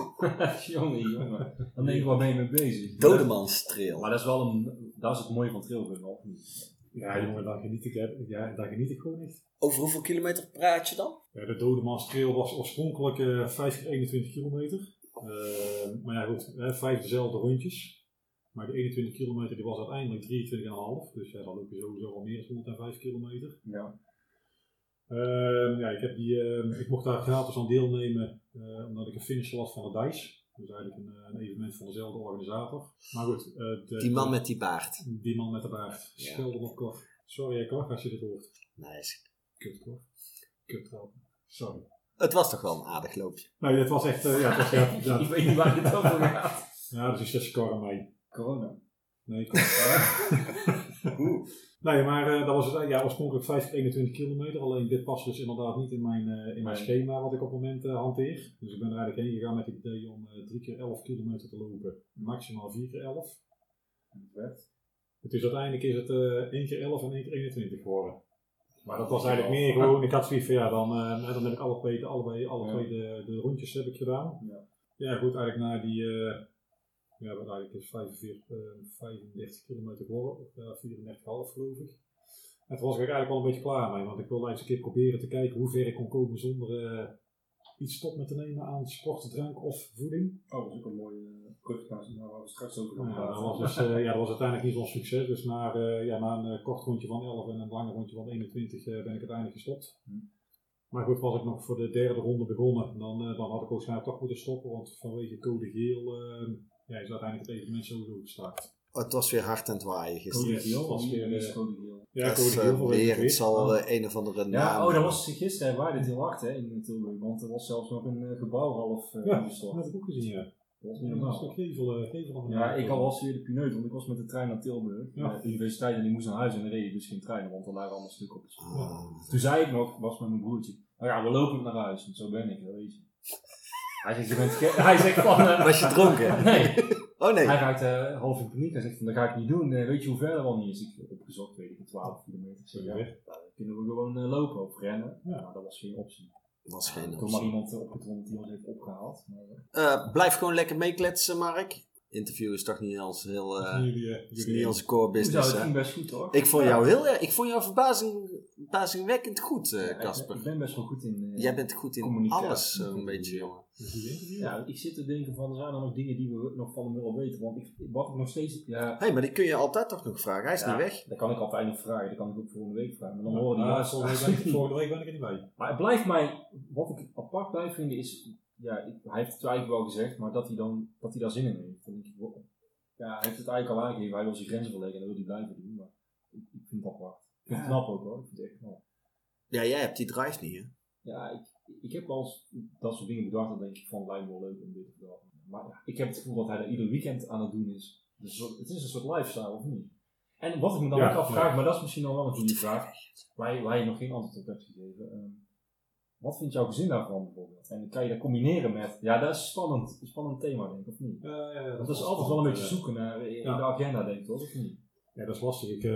[laughs] jongen, jongen. Dan denk ik, waar ben je mee bezig? Maar
Dodemanstrail.
dat is wel een, dat is het mooie van trailrunnen, of niet?
Ja, jongen, daar geniet ik, eh, ja, daar geniet ik gewoon echt.
Over hoeveel kilometer praat je dan?
Ja, de Dodemans Trail was oorspronkelijk eh 5 keer 21 kilometer. Eh, maar ja, goed, hè, vijf dezelfde rondjes. Maar die 21 kilometer die was uiteindelijk 23,5. Dus ja, dan loop je sowieso al meer dan 105 kilometer.
Ja.
Ehm, ja, ik, heb die, ehm, ik mocht daar gratis aan deelnemen eh, omdat ik een finisher was van de DICE. Dus eigenlijk een, eh, een evenement van dezelfde organisator. Maar goed, eh, de-
Die man met die baard.
die man met de baard.
Ja.
Schelden op Cor. Sorry, hè, Cor, als je dit hoort.
Nice.
Kut, Cor. Kut, Cor. Sorry.
Het was toch wel een aardig loopje.
Nee, het was echt, eh, ja, het
[laughs]
was, ja, ja,
Ik weet niet waar dit over gaat.
Ja, dat is zes score aan mij.
Corona.
Nee, klopt. nee, maar eh, dat was het, eh, ja, oorspronkelijk 5 keer 21 kilometer. Alleen dit past dus inderdaad niet in mijn, eh, in mijn
Nee.
schema wat ik op het moment eh, hanteer. Dus ik ben er eigenlijk heen gegaan met het idee om eh 3 keer 11 kilometer te lopen. Maximaal 4 keer 11. Het is uiteindelijk is het eh 1 keer 11 en 1 keer 21 geworden. Maar dat was eigenlijk meer gewoon, ik had zoiets van ja, dan, eh, dan heb ik alle twee, de- allebei, alle
Ja.
twee de, de rondjes heb ik gedaan.
Ja.
Ja, goed, eigenlijk na die, eh ja, wat eigenlijk is 45, eh, 35 kilometer geworden, of ja, 34,5 geloof ik. En toen was ik eigenlijk wel een beetje klaar mee, want ik wilde eens een keer proberen te kijken hoe ver ik kon komen zonder eh, iets stop met te nemen aan sport, drank of voeding.
Oh, dat is ook een mooie brug naar waar nou, we straks over gaan
Ja, dat
praten.
was, dus, eh, ja, dat was uiteindelijk niet zo'n succes. Dus na, eh, ja, na een eh, kort rondje van 11 en een lang rondje van 21 eh, ben ik uiteindelijk gestopt.
Hm.
Maar goed, was ik nog voor de derde ronde begonnen, dan, eh, dan had ik waarschijnlijk toch moeten stoppen. Want vanwege code geel eh, ja, is uiteindelijk het evenement sowieso gestart.
Het was weer hard aan het waaien
[laughs]
gisteren.
Code
Yes,
Geel,
eh, was weer,
wie is
eh,
Code Geel?
Ja,
dat is eh,
vanwege
weer, het zal
Ja.
eh, een of andere
Oh. Ja,
naam...
oh, dat was gisteren waar dit heel hard hè, in eh, Tilburg, want er was zelfs nog een eh, gebouw half eh,
Ja,
ingestort.
dat heb ik ook gezien, ja.
Dat was niet
Een stuk
normaal.
gevel, eh, gevel nog
Ja, ik had wel weer de pineut, want ik was met de trein naar Tilburg,
Ja.
naar de universiteit, en ik moest naar huis en dan reed je dus geen trein, want er lagen allemaal stukken op de spoor.
Ah.
Toen zei ik nog, was met mijn broertje, nou ja, we lopen naar huis, want zo ben ik, dat weet je. Hij zegt, je bent gek. [laughs] Hij zegt van...
[laughs]
eh,
Was je
[laughs]
dronken?
Nee,
Oh nee.
hij raakt eh, half in paniek. Hij zegt van, dat ga ik niet doen. Eh, weet je hoe ver dat wel niet is? Ik heb opgezocht, weet ik, het, 12 kilometer. Ik zeg, ja,
Ja.
dan kunnen we gewoon eh, lopen of rennen?
Ja.
Nou, dat was geen optie.
was
Ik
geen
heb maar
optie.
iemand eh, opgedrongen die ons heeft opgehaald. Maar, eh,
Eh, blijf gewoon lekker meekletsen, Mark. Interview is toch niet als heel. eh,
jullie, eh,
is
jullie-
niet onze core
hoe zou
business.
het
hè?
ging best goed hoor.
Dus eh, Ik vond
Ja.
jou heel erg. Ik vond jou verbazing, verbazingwekkend goed, eh,
Ja, ik-
Casper.
Ik ben best wel goed in... eh,
Jij bent goed in
communicatie.
alles, zo'n beetje, jongen.
jullie interview?
Ja, ik zit te denken van, er zijn er nog dingen die we nog van hem willen weten. Want ik, wat ik nog steeds... Ja,
Hé, hey, maar die kun je altijd toch nog vragen? Hij is
Ja.
niet weg.
Dat kan ik altijd nog vragen, dat kan ik ook volgende week vragen. Maar dan horen
Ah,
die
Ja,
laatste
volgende
[laughs]
week ben ik- volgende week ben ik er niet bij.
Maar het blijft mij, wat ik apart blijf vinden is, ja, ik- hij heeft het eigenlijk wel gezegd, maar dat hij, dan, dat hij daar zin in heeft. Dan denk ik, wow. ja, hij heeft het eigenlijk al aangegeven, hij wil zijn grenzen verleggen en dat wil hij blijven doen. Maar ik, ik vind het apart. Ik vind het knap ook hoor, ik vind het echt knap.
Ja, jij hebt die drive niet, hè?
Ja, ik, ik heb wel eens dat soort dingen bedacht. Dan denk ik van, het lijkt me wel leuk om dit of dat. Maar ja, ik heb het gevoel dat hij dat ieder weekend aan het doen is. Dus zo- het is een soort lifestyle, of niet? En wat ik me dan
Ja,
ook afvraag,
ja.
maar dat is misschien al wel een goede vraag. Waar je, waar je nog geen antwoord op hebt gegeven. ehm, wat vindt jouw gezin daarvan bijvoorbeeld? En kan je dat combineren met... Ja, dat is een spannend, een spannend thema, denk ik, of niet?
Eh,
Dat is altijd wel een beetje
eh,
zoeken naar eh, in
Ja.
de agenda, denk ik, toch? Of niet?
Ja, dat is lastig. Ik, eh,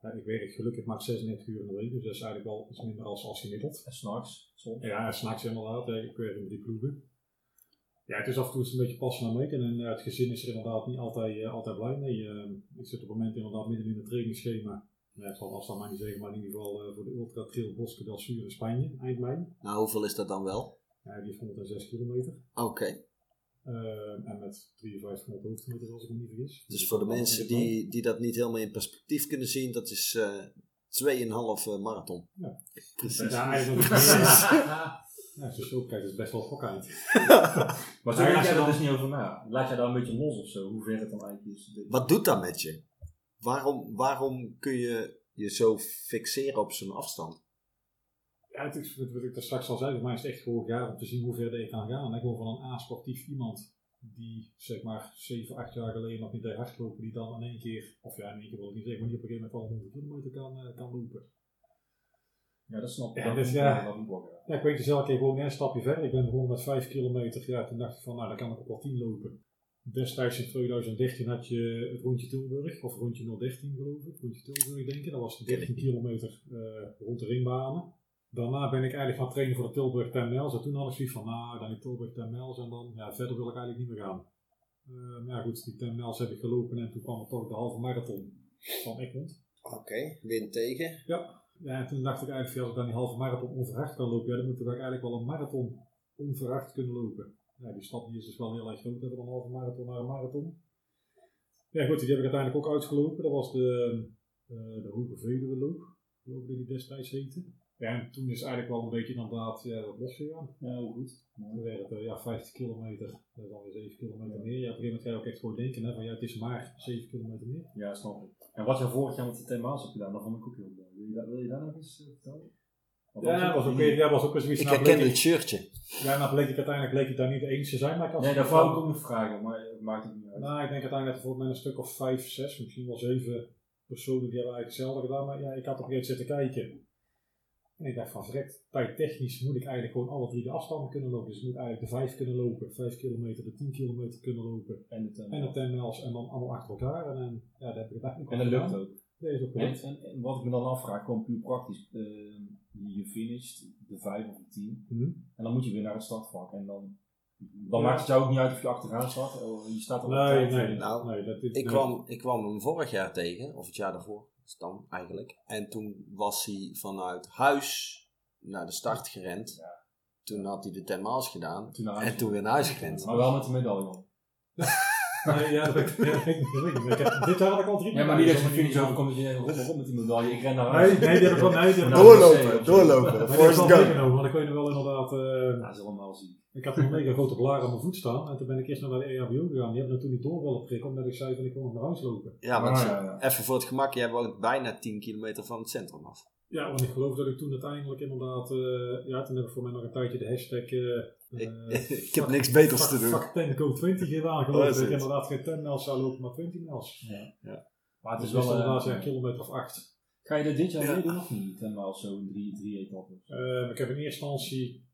nou, ik werk gelukkig maar 36 uur in de week, dus dat is eigenlijk wel iets minder als, als gemiddeld.
En s'nachts, soms.
Ja, en s'nachts helemaal uit. hè. Ik werk in drie ploegen. Ja, het is af en toe eens een beetje passen naar meken. En eh, het gezin is er inderdaad niet altijd, eh, altijd blij mee. Eh, ik zit op het moment inderdaad midden in het trainingsschema. Ja, ik zal afstand maar niet zeggen, maar in ieder geval eh, voor de Ultra Trail Bosque del Sur in Spanje, eind mei.
Nou, hoeveel is dat dan wel?
Ja, die is 106 kilometer.
Oké,
Eh, en met 5300 hoogtemeters, als ik me niet vergis.
dus voor de mensen die, die dat niet helemaal in perspectief kunnen zien, dat is eh 2,5 marathon.
Ja.
precies.
Ja, eigenlijk.
Precies.
[laughs]
Ja, [laughs] als je zo kijkt, is het best wel gok eind.
Maar
Ah,
daar
ja,
laat jij
dan-
er dus niet over na. Laat jij daar een beetje los of zo, hoe ver het dan eigenlijk is. Dit-
Wat doet dat met je? Waarom, waarom kun je je zo fixeren op zo'n afstand?
Ja, het is, wat wat ik daar straks al zei, voor mij is het echt vorig jaar om te zien hoe ver ik kan gaan. En ik wil van een A-sportief iemand die zeg maar 7, 8 jaar geleden nog niet deed hardlopen, die dan in één keer, of ja, in één keer wil ik niet zeggen, maar die op een gegeven moment al 100 kilometer kan, eh, kan lopen.
Ja, dat snap ik.
Ja,
dat
dus
is
ja.
Dat moet ik ook, ja.
Ja, ik weet dus elke keer gewoon een stapje verder. Ik ben begonnen met 5 kilometer. Ja, toen dacht ik van, nou, dan kan ik op wel 10 lopen. Destijds in 2013 had je het rondje Tilburg, of rondje 013 geloof ik, rondje Tilburg denk ik. Dat was 13 kilometer eh, rond de ringbanen. Daarna ben ik eigenlijk gaan trainen voor de Tilburg 10 miles. En toen had ik zoiets van, nou, dan die Tilburg 10 miles en dan, ja, verder wil ik eigenlijk niet meer gaan. Eh, maar ja, goed, die 10 miles heb ik gelopen en toen kwam er toch de halve marathon van Egmond.
Oké, win tegen.
Ja, en toen dacht ik eigenlijk, van, ja, als ik dan die halve marathon onverhard kan lopen, ja, dan moet ik eigenlijk wel een marathon onverhard kunnen lopen. Ja, die stap die is dus wel heel erg groot, hè, van een halve marathon naar een marathon. Ja goed, die heb ik uiteindelijk ook uitgelopen. Dat was de, eh de Hoge Veluwe loop, geloof ik dat die destijds heette. Ja, en toen is eigenlijk wel een beetje inderdaad ja, wat losgegaan.
Ja, heel goed.
Dan werd het, eh, ja, 50 kilometer, dat is dan weer 7 kilometer meer. Ja, op een gegeven moment ga je ook echt gewoon denken, hè, van ja, het is maar 7 kilometer meer.
Ja, snap ik. En wat je vorig jaar met de thema's hebt gedaan, dat vond ik ook heel leuk. Wil je, dat- wil je daar nog eens eh, vertellen? Want
Ja,
anders-
dat was ook weer, ja, dat was ook weer zoiets.
Ik
nou,
herken
bleek
het shirtje.
Ja, nou bleek ik uiteindelijk bleek ik daar niet eens te zijn, maar ik had
Nee, dat wou ik ook nog vragen, maar het maakt het niet uit.
Nou, ik denk uiteindelijk bijvoorbeeld met een stuk of vijf, zes, misschien wel zeven personen die hebben eigenlijk hetzelfde gedaan. Maar ja, ik had op een gegeven moment zitten kijken. En ik dacht van verrekt, tijdtechnisch moet ik eigenlijk gewoon alle drie de afstanden kunnen lopen. Dus ik moet eigenlijk de vijf kunnen lopen, vijf kilometer, de tien kilometer kunnen lopen.
en, het, eh,
En de ten miles en dan allemaal achter elkaar. En, dan ja, dat heb ik uiteindelijk
en
al
dat lukt
gedaan.
ook.
Dat is ook
En,
gelukt.
en, en wat ik me dan afvraag, gewoon puur praktisch. eh, je finisht de 5 of de 10
Mhm.
en dan moet je weer naar het startvak. En dan, dan
Ja.
maakt het jou ook niet uit of je achteraan staat. eh, Je staat er op
Nee,
tijd.
nee,
Nou,
nee, dat is,
Ik
nee.
kwam, ik kwam hem vorig jaar tegen, of het jaar daarvoor, is het dan eigenlijk. En toen was hij vanuit huis naar de start gerend. Toen had hij de 10 miles gedaan
Toen naar huis.
en toen weer naar huis gerend.
Maar wel met de medaille. man.
Nee, ja, dat weet ik- dat weet ik niet. Ik heb- Dit jaar had ik al drie
Ja, maar
keer
niet dat je de
gezien.
finish overkomt dat je denkt, rot maar op met die medaille, ik ren naar
Nee,
huis.
nee, die heb ik wel. Nee, die heb ik
Nou,
wel.
wc of zo.
[laughs] doorlopen.
Maar die heb ik wel meegenomen, want ik weet nog wel inderdaad. eh,
Ja, Dat is allemaal zien.
Ik had een mega grote blaar aan mijn voet staan en toen ben ik eerst naar de E EHBO gegaan. Die hebben me toen niet door willen prikken, omdat ik zei van ik wil nog naar huis lopen.
Ja, want
Ah, ja, ja.
even voor het gemak, jij woont bijna 10 kilometer van het centrum af.
Ja, want ik geloof dat ik toen uiteindelijk inderdaad, eh, ja toen heb ik voor mij nog een tijdje de hashtag... eh, eh,
[laughs] ik heb niks beters te doen.
Fuck 10 go 20 gedaan,
Oh,
geloof
is
ik. Dat ik
het.
inderdaad geen 10 miles zou lopen, maar 20 miles.
Maar het
Dus
is
dat is
wel
inderdaad
eh,
ja, een kilometer of acht.
Ga je dat dit jaar
Ja.
meedoen of niet? Helemaal zo in drie, drie etappes.
Eh, ik heb in eerste instantie,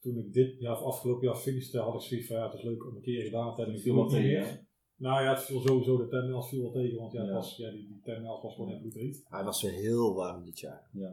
toen ik dit jaar of afgelopen jaar finishte, had ik zoiets van ja, het is leuk om een keer gedaan te hebben. Ik
Viel
doe
wel
het niet
tegen,
meer. Nou ja, het viel sowieso, de 10 miles viel wel tegen, want ja, het
Ja.
Was, ja die, die 10 miles was gewoon echt goed heet.
Hij was weer heel warm dit jaar.
Ja.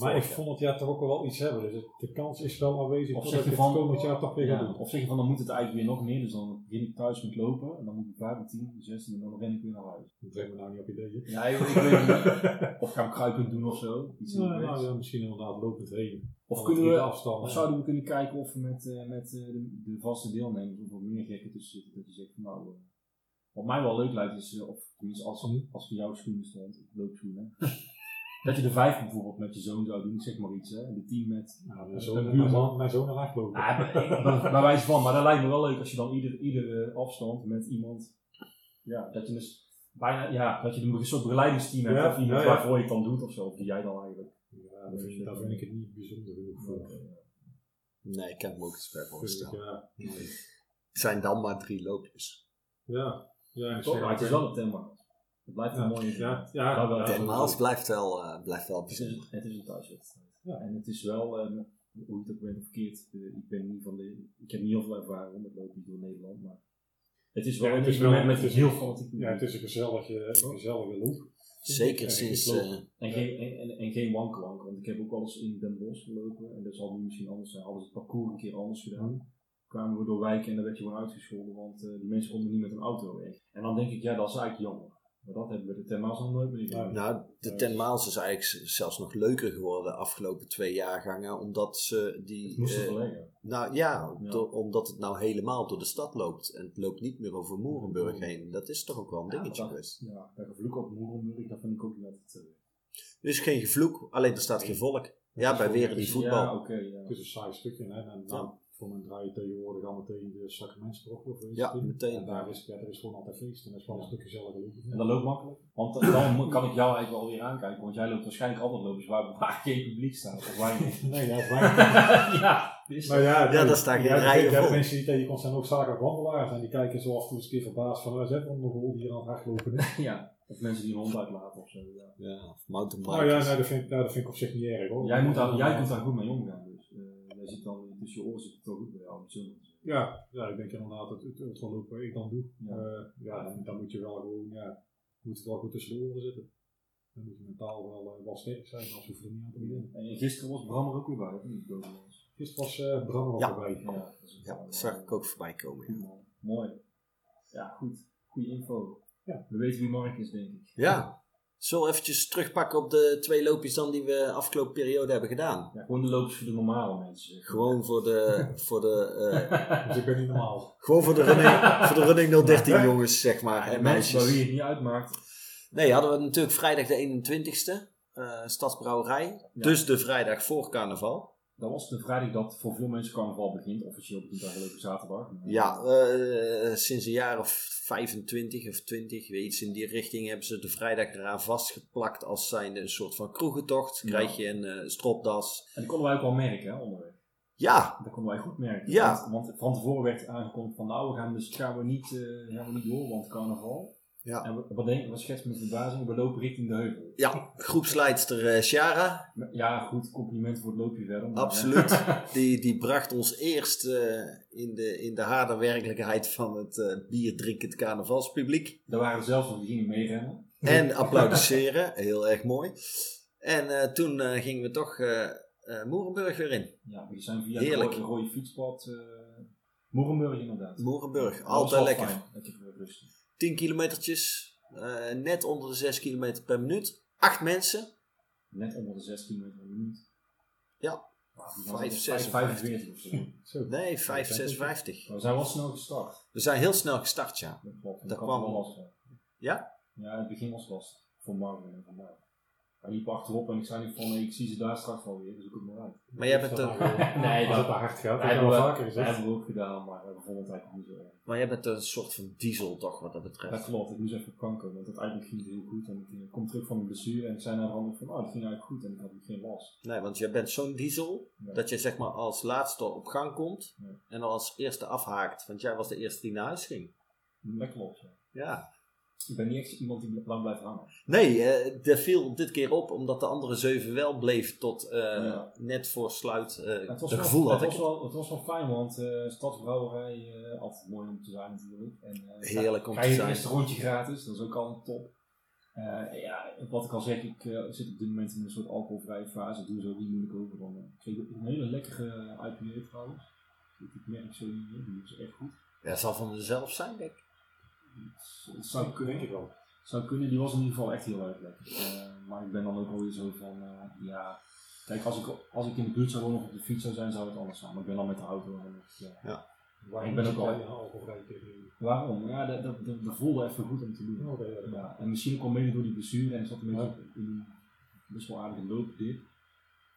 Maar ik
Vorig
vond het jaar toch ook wel iets hebben. Dus het- de kans is wel aanwezig
Of
dat
zeg
ik
je
het
van,
komend jaar toch weer ga
Ja,
doen.
of zeg je van, dan moet het eigenlijk weer nog meer, dus dan begin ik thuis met lopen, en dan moet ik 5 en 10, 16 en dan ren ik weer naar huis.
Dat brengt me nou niet op ideeën.
Ja, ik, ik weet niet. [laughs] Of gaan we kruipend doen of zo. Iets in die
Nou, nou
reeks.
ja, misschien inderdaad lopend heen.
Of
Alle
kunnen
drie de
we,
afstanden.
Of zouden we kunnen kijken of we met, eh, met eh, de, de vaste deelnemers of wat meer gekken tussen zitten? Dat je zegt, van, nou, eh, wat mij wel leuk lijkt is, eh, of tenminste als,
Mhm.
als ik in jouw schoenen stond, of loopschoenen, [laughs] dat je de vijf bijvoorbeeld met je zoon zou doen, zeg maar iets, hè? En de tien met.
Nou, mijn
met
zoon,
een
mijn
buurman.
zoon, mijn zoon en ik lopen.
Ah, bij, bij- bij wijze van, [laughs] maar dat lijkt me wel leuk als je dan ieder, ieder eh, afstand met iemand, ja, dat je dus bijna, ja, dat je een soort begeleidingsteam hebt
Ja,
of iemand
ja, ja.
waarvoor je het dan doet of zo, of die jij dan eigenlijk.
Ja, Ja, daar vind ik- daar vind ik het niet bijzonder genoeg voor.
Nee, ik kan me ook iets bij
Vind ik,
voorstellen.
ja.
Het zijn dan maar drie loopjes.
Ja, ja, en
Toch, maar het is
zeker-
wel een thema. Het blijft een
Ja,
mooie
ja,
event.
ja,
Dat wel.
ja,
Ten Maals blijft wel, eh, blijft wel
Het
bijzonder.
is, het is een thuiswedstrijd.
Ja.
En het is wel, eh, hoe je het ook bent of keert, eh, ik, ben niet van de, ik heb niet heel veel ervaring met lopen door Nederland, maar het is wel
Ja, het
een
is wel-
evenement met
het is-
heel fanatiek publiek.
Ja, het is een gezellige, een gezellige loop.
Zeker
Ja,
sinds...
ik loop.
eh,
En, geen, en, en, en geen wankelwank, want ik heb ook wel eens in Den Bosch gelopen en dat zal nu misschien anders zijn. Hadden ze het parcours een keer anders gedaan.
Hmm.
Kwamen we door wijken en dan werd je gewoon uitgescholden, want eh, die mensen konden niet met een auto weg. En dan denk ik, ja, dat is eigenlijk jammer. Maar dat hebben we de Termaals nog nooit meer gedaan.
Ja.
Nou, de Ten Maals is eigenlijk z- zelfs nog leuker geworden de afgelopen twee jaargangen, omdat ze
Het
die...
moest
eh,
verleggen.
nou ja,
Ja.
do- omdat het nou helemaal door de stad loopt en het loopt niet meer over Moerenburg heen. Dat is toch ook wel een
Ja,
dingetje
dat-
geweest.
Ja, bij gevloek op Moerenburg, dat vind ik ook niet altijd... eh,
Er is geen gevloek, alleen er staat geen volk. Ja,
is
bij
wel-
weer die
Dus Ja,
voetbal.
oké, ja.
Het is een saai stukje. Hè? En nou, voor mijn draai je tegenwoordig allemaal tegen de sacramentsprof.
Ja, meteen.
En daar is, ja, er is gewoon altijd feest. En dat is wel een stuk gezellige loop.
En dat loopt makkelijk. Want eh, dan mo- kan ik jou eigenlijk wel weer aankijken, want jij loopt waarschijnlijk altijd lopen dus waar, [laughs] waar geen publiek staat. Of weinig.
[laughs] Nee, ja, weinig.
ja, dus.
Maar ja,
[laughs] Ja, daar staan geen
je hebt-
rijen
Je hebt
vol.
mensen die tegen je komt zijn ook zakelijk wandelaars. En die kijken zo af en toe eens een keer verbaasd van, waar zijn een mogol die hier aan het hardlopen
eh,
is.
ja. Of mensen die een hond uitlaten of zo. Ja.
Ja, of mountainbikers.
Nou ja, nou, dat, vind, ik- nou, dat vind ik op zich niet erg
Oh,
hoor.
Jij, moet daar, jij kunt daar goed mee omgaan. Dus eh, jij zit dan tussen je oren zit het wel goed bij jou. om het zo maar te zeggen.
Ja, ja, ik denk inderdaad dat het ultraloop wat ik dan doe.
Ja.
Ja, ja dan, dan moet je wel gewoon, ja, moet het wel goed tussen de oren zitten. Dan moet je mentaal wel, eh, wel sterk zijn, anders hoef je er niet aan te beginnen.
En gisteren was Bram er ook weer bij. of niet, Koos?
Gisteren was eh Bram er ook
Ja.
erbij.
Ja, dat is een-
Ja, dat zag ik ook voorbij komen.
Goed,
Ja,
man. Mooi. Ja, goed. Goede info.
Ja.
We weten wie Mark is, denk ik.
ja. zullen we eventjes terugpakken op de twee loopjes dan die we afgelopen periode hebben gedaan?
Ja, gewoon de lopers voor de normale mensen. zeg.
Gewoon voor de, voor de, eh,
Dus ik ben niet normaal.
gewoon voor de running, voor de running 013 jongens, zeg maar,
Ja,
en
de mensen
meisjes.
waar wie het niet uitmaakt.
Nee, hadden we natuurlijk vrijdag de 21ste, eh, Stadsbrouwerij.
Ja.
Dus de vrijdag voor carnaval.
Dat was de vrijdag dat voor veel mensen carnaval begint. Officieel begint dat hele leuke zaterdag. Maar-
Ja, eh, sinds een jaar of 25 of 20, weet je, iets in die richting, hebben ze de vrijdag eraan vastgeplakt als zijnde een soort van kroegentocht.
Ja.
Krijg je een eh, stropdas.
En dat konden wij ook wel merken, hè, onderweg.
Ja,
Dat konden wij goed merken.
Ja.
Want, want van tevoren werd aangekondigd van nou, we gaan, dus, gaan, we niet, eh, gaan we niet door, want carnaval.
Ja.
En we, wat denk, we schetsen met verbazing, we lopen richting de heuvel.
ja groepsleidster eh Shara,
Ja, goed, compliment voor het loopje verder. maar,
absoluut.
[laughs]
Die, die bracht ons eerst eh, in, de, in de harde werkelijkheid van het eh bierdrinkend carnavalspubliek.
Daar waren we zelfs nog die gingen meerennen.
En applaudisseren, heel erg mooi. En eh, toen eh, gingen we toch eh eh, Moerenburg weer in.
Ja, we zijn via
Heerlijk.
het rode, rode fietspad. eh Moerenburg inderdaad.
Moerenburg,
Dat was wel
altijd lekker.
fijn. Lekker eh, rustig.
10 kilometertjes, eh, net onder de 6 kilometer per minuut. Acht mensen,
Net onder de 16 meter per minuut.
Ja.
Nou, die
Vijf,
was altijd
zes,
45 of zo.
Zo.
nee, 5, 6, 50.
Maar We zijn wel snel gestart.
We zijn heel snel gestart, ja.
Dat klopt.
Dat
had
kwam
wel
wel.
last van.
Ja?
Ja, het begin was lastig. Voor Marvin en voor mij. Hij liep achterop en ik zei nu van, nee, ik zie ze daar straks wel weer, dus ik kom eruit.
Maar jij bent, een,
[laughs] Nee,
Nee, dat
dat-
het hard gaat.
Dat
Dat hebben we al vaker
dat
gezegd.
hebben we ook gedaan, maar we vonden het eigenlijk niet zo erg.
maar jij bent een soort van diesel toch, wat dat
Dat
betreft.
klopt, ik moest even kanker, want uiteindelijk ging het heel goed. En ik eh, kom terug van mijn blessure en ik zei naar de ander van, oh, het ging eigenlijk goed en ik had geen last.
Nee, want jij bent zo'n diesel,
Ja.
dat je zeg maar als laatste op gang komt.
Ja.
En dan als eerste afhaakt, want jij was de eerste die naar huis ging.
Dat klopt, ja.
Ja.
Ik ben niet echt iemand die lang blijft hangen.
Nee, eh, dat viel dit keer op omdat de andere zeven wel bleef tot eh,
Ja.
net voor sluit. eh
Het
het
was, wel,
gevoel
het
had ik.
was wel, het was wel fijn, want eh Stadsbrouwerij, eh, altijd mooi om te zijn natuurlijk. En, eh,
Heerlijk om
ga
te
je het
zijn.
eerste rondje gratis, dat is ook al top. Eh, ja, wat ik al zeg, ik eh, zit op dit moment in een soort alcoholvrije fase. Ik doe zo niet moeilijk over. Dan, eh, ik kreeg ook een hele lekkere IPA trouwens. Ik merk zo niet meer, die is echt goed.
Ja, het zal van mezelf zijn, denk ik.
Het- Het zou kunnen.
Denk ik wel.
Zou kunnen, die was in ieder geval echt heel erg lekker. Eh, maar ik ben dan ook alweer zo van, eh, ja... Kijk, als ik, als ik in de buurt zou wonen of op de fiets zou zijn, zou het anders zijn. Maar ik ben dan met de auto en ik, eh, Ik ben ook al-
alcoholvrij tegen
Waarom? Ja, dat, dat, dat, dat voelde even goed om te doen.
Oh, dat-
Ja, en misschien kwam mede door die blessure en ik zat een beetje in een best wel aardige loop dit.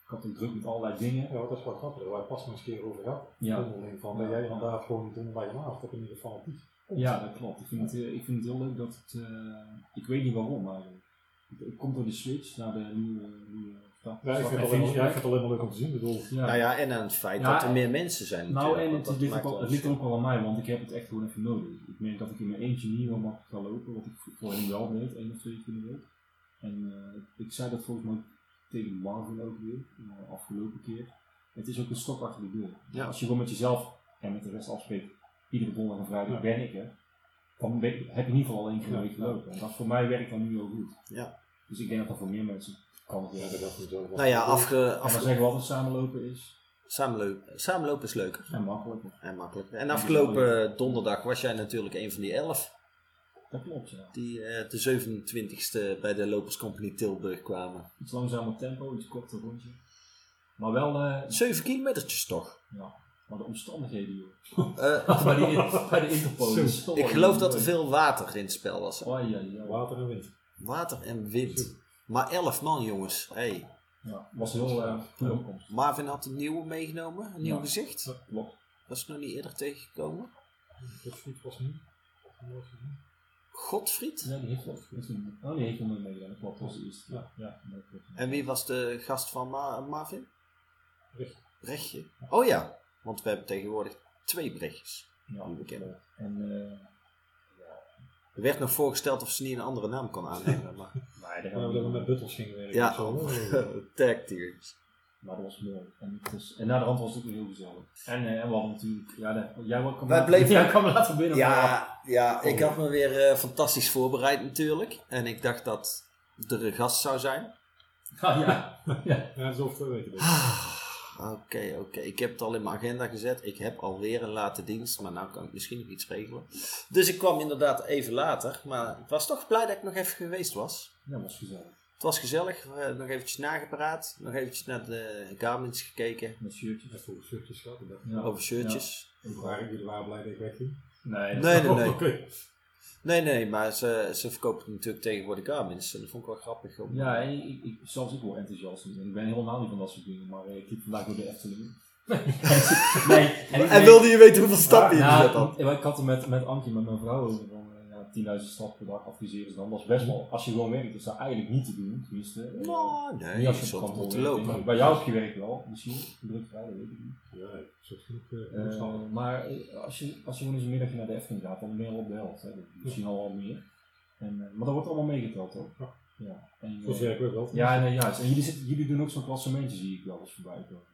Ik had ook druk met allerlei dingen.
Ja, dat is wel grappig. Waar het pas nog eens een keer over gehad.
Ja.
Onderling Van, dat jij inderdaad gewoon niet onder bij je maat hebt in ieder geval.
Ja, dat klopt. Ik vind het, eh, ik vind het heel leuk dat het... eh, ik weet niet waarom eigenlijk. Het, het komt door de switch naar de nieuwe, nieuwe Ja,
Ja, ik vind het alleen maar- ja, ik vind het alleen maar leuk om te zien. Ik bedoel,
Ja.
Nou ja, en aan het feit
Ja,
dat er
en-
meer mensen zijn.
Nou,
natuurlijk,
en
want
het
dat
ligt,
maakt
ook, al- het
wel
ligt ook wel aan mij, want ik heb het echt gewoon even nodig. Ik merk dat ik in mijn eentje niet heel makkelijk ga lopen, wat ik voorheen wel deed, één of twee keer in de week. En eh, ik zei dat volgens mij tegen Marvin ook weer, de afgelopen keer. Het is ook een stok achter de deur.
Ja.
Als je gewoon met jezelf en met de rest afspreekt, iedere donderdag en vrijdag
Ja.
ben ik er, dan ben- heb je in ieder geval al één keer een
Ja.
week gelopen. En dat voor mij werkt dan nu al goed.
Ja.
Dus ik denk dat dat voor meer mensen kan het
ja,
werken.
dat is niet zo.
Nou ja, afge,
En dan
afge,
zeggen we altijd samenlopen is
samenloop- samenlopen is leuker
en makkelijker.
en makkelijker. En afgelopen donderdag was jij natuurlijk een van die elf
Dat klopt, ja.
die eh, de 27 e bij de Lopers Company Tilburg kwamen.
Iets langzamer tempo, iets korter rondje. Maar wel, eh,
Zeven kilometertjes toch?
ja, maar de omstandigheden, joh.
Eh,
bij, die, bij de Interpol.
Zo.
is toch
ik
wel
geloof
heel
dat er
leuk.
veel water in het spel was.
Ai, ai, ai.
Water en wind.
Water en wind. Maar elf man jongens. Hey.
Ja, was heel eh goede opkomst.
Marvin had een nieuwe meegenomen, een nieuw
Ja.
gezicht.
Klopt.
Was ik nog niet eerder tegengekomen.
Dat schiet was niet. Dat was niet.
Godfried.
Ja, die heeft wel. Heeft een, oh, die heeft hem meegedaan. Dat klopt, dat was de eerste keer. Ja, dat klopt.
En wie was de gast van Ma- Marvin?
Brechtje.
Brechtje. Oh ja, want we hebben tegenwoordig twee Brechtjes.
Ja,
die we kennen.
En, eh,
Er werd nog voorgesteld of ze niet een andere naam kon aannemen. Maar...
maar, daar gaan
Ja,
we
Oh, dat we
niet
met
aan.
buttels gingen werken.
Ja,
of zo, hè.
[laughs] tag teams.
maar dat was mooi. En, het is, en na de hand was het ook weer heel gezellig. En, eh, en we hadden natuurlijk, ja, de, jij kwam
Wij
later- [laughs]
bleven-
jij kwam later binnen. maar-
Ja, ja, ik had me weer eh, fantastisch voorbereid natuurlijk. En ik dacht dat er een gast zou zijn.
Ah, ja. ja.
Ja, dat is over twee weken. denk ik.
Ah, Oké, oké. Ik heb het al in mijn agenda gezet. Ik heb alweer een late dienst, maar nou kan ik misschien nog iets regelen. Dus ik kwam inderdaad even later, maar ik was toch blij dat ik nog even geweest was.
Ja, was gezellig.
Het was gezellig, we hebben nog eventjes nagepraat, nog eventjes naar de Garmin's gekeken,
Met shirtjes.
Even voor de shirtjes gehad. Ik dacht,
Ja.
over shirtjes.
jullie waren- jullie waren blij dat ik wegging.
Nee, dat-
Nee, nee,
Oh,
nee.
oké.
Nee, nee, maar ze, ze verkopen het natuurlijk tegenwoordig Garmin's en dat vond ik wel grappig. om-
[laughs] Ja, en ik, ik, zelfs ik word enthousiast. En Ik ben helemaal niet van dat soort dingen, maar eh, ik liep vandaag door
[laughs]
de Efteling. nee, ik-
En wilde je weten hoeveel stappen je
nou,
gezet had?
ik- Ik had het met, met Antje, met mijn vrouw, over van, eh, ja, 10.000 stappen per dag adviseren ze dan. Dat is best wel, als je gewoon werkt, is dat eigenlijk niet te doen, tenminste. eh,
Nou, nee,
niet
je
als je op
zult
kantoor
moeten
werkt.
lopen.
Bij jou op je werk wel, misschien. Druk vrij, dat weet ik niet.
Ja, ik zat genoeg
Eh,
eh, ontsnappen.
maar eh, als je, als je gewoon eens een middagje naar de Efteling gaat, dan ben je al op de helft. Hè. Misschien al wat meer. En, eh, maar dat wordt allemaal meegeteld, toch?
Ja.
Ja. En, eh,
Volgens mij ook wel.
ja, nee, juist. En jullie, zitten, jullie doen ook zo'n klassementje, zie ik wel eens voorbij komen.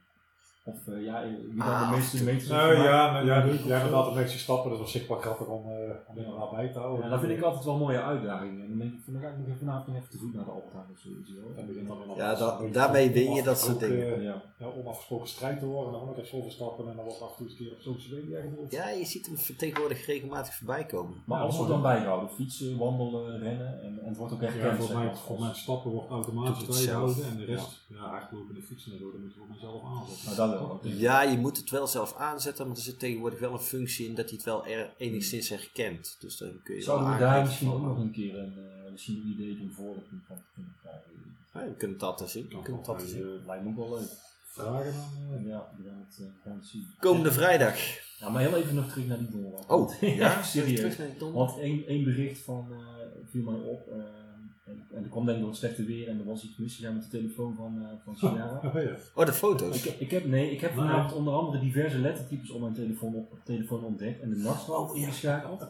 Of eh, ja, eh, wie dan
Ah,
de meeste meters
Nou
heeft gemaakt.
ja, nou, ja, jij bent altijd met je stappen, dus dat was zichtbaar grappig om, eh om inderdaad bij te houden.
Ja, dat vind ik altijd wel een mooie uitdaging. En dan denk ik, van, dan ga ik nog even vanavond nog even te voet naar de Albertijn of zoiets.
Dan
Wel.
begint dan weer
Ja,
nog
da-
een beetje
daarmee win je dat soort
onafgesproken,
dingen.
eh,
Ja.
ja, onafgesproken strijd te worden, dan wordt er zoveel stappen en dan wordt af en toe eens een keer op social media gebeurd.
Ja, je ziet hem tegenwoordig regelmatig voorbij komen.
Maar
eh, Ja,
alles wordt
mooi.
dan bijgehouden. Fietsen, wandelen, rennen. En, en het wordt ook echt
Ja,
kennis,
volgens
zeg
mij,
maar.
volgens mij stappen wordt
Doet
automatisch
het zelf.
bijgehouden en de rest, ja, hardlopen en fietsen en zo, dat moet je volgens mij zelf aanzetten.
Nou, dat wel. oké.
Ja, je moet het wel zelf aanzetten, maar er zit tegenwoordig wel een functie in dat hij het wel er, enigszins herkent. Dus dan kun je wel
Zouden we daar
aangeven
misschien
van,
ook nog een keer een, eh, misschien een idee doen voor dat punt van kunnen krijgen?
"Hé, we kunnen dat dan zien. We kunnen dat dan zien.
Dat eh, lijkt me ook wel leuk.
Vragen dan? eh,
Ja, we gaan het, eh, we gaan het zien.
Komende vrijdag.
Ja, maar heel even nog terug naar die donderdag. [laughs]
Oh, ja,
serieus.
Terug naar die donder.
Want één, één bericht van, eh, viel mij op. eh, en, en dat kwam denk ik door het slechte weer en er was iets misgegaan met de telefoon van, eh, van Ciara.
Oh ja,
Oh, de foto's.
Ik, ik heb, nee, ik heb vanavond onder andere diverse lettertypes op mijn telefoon, op, telefoon ontdekt en de nachtwacht ingeschakeld.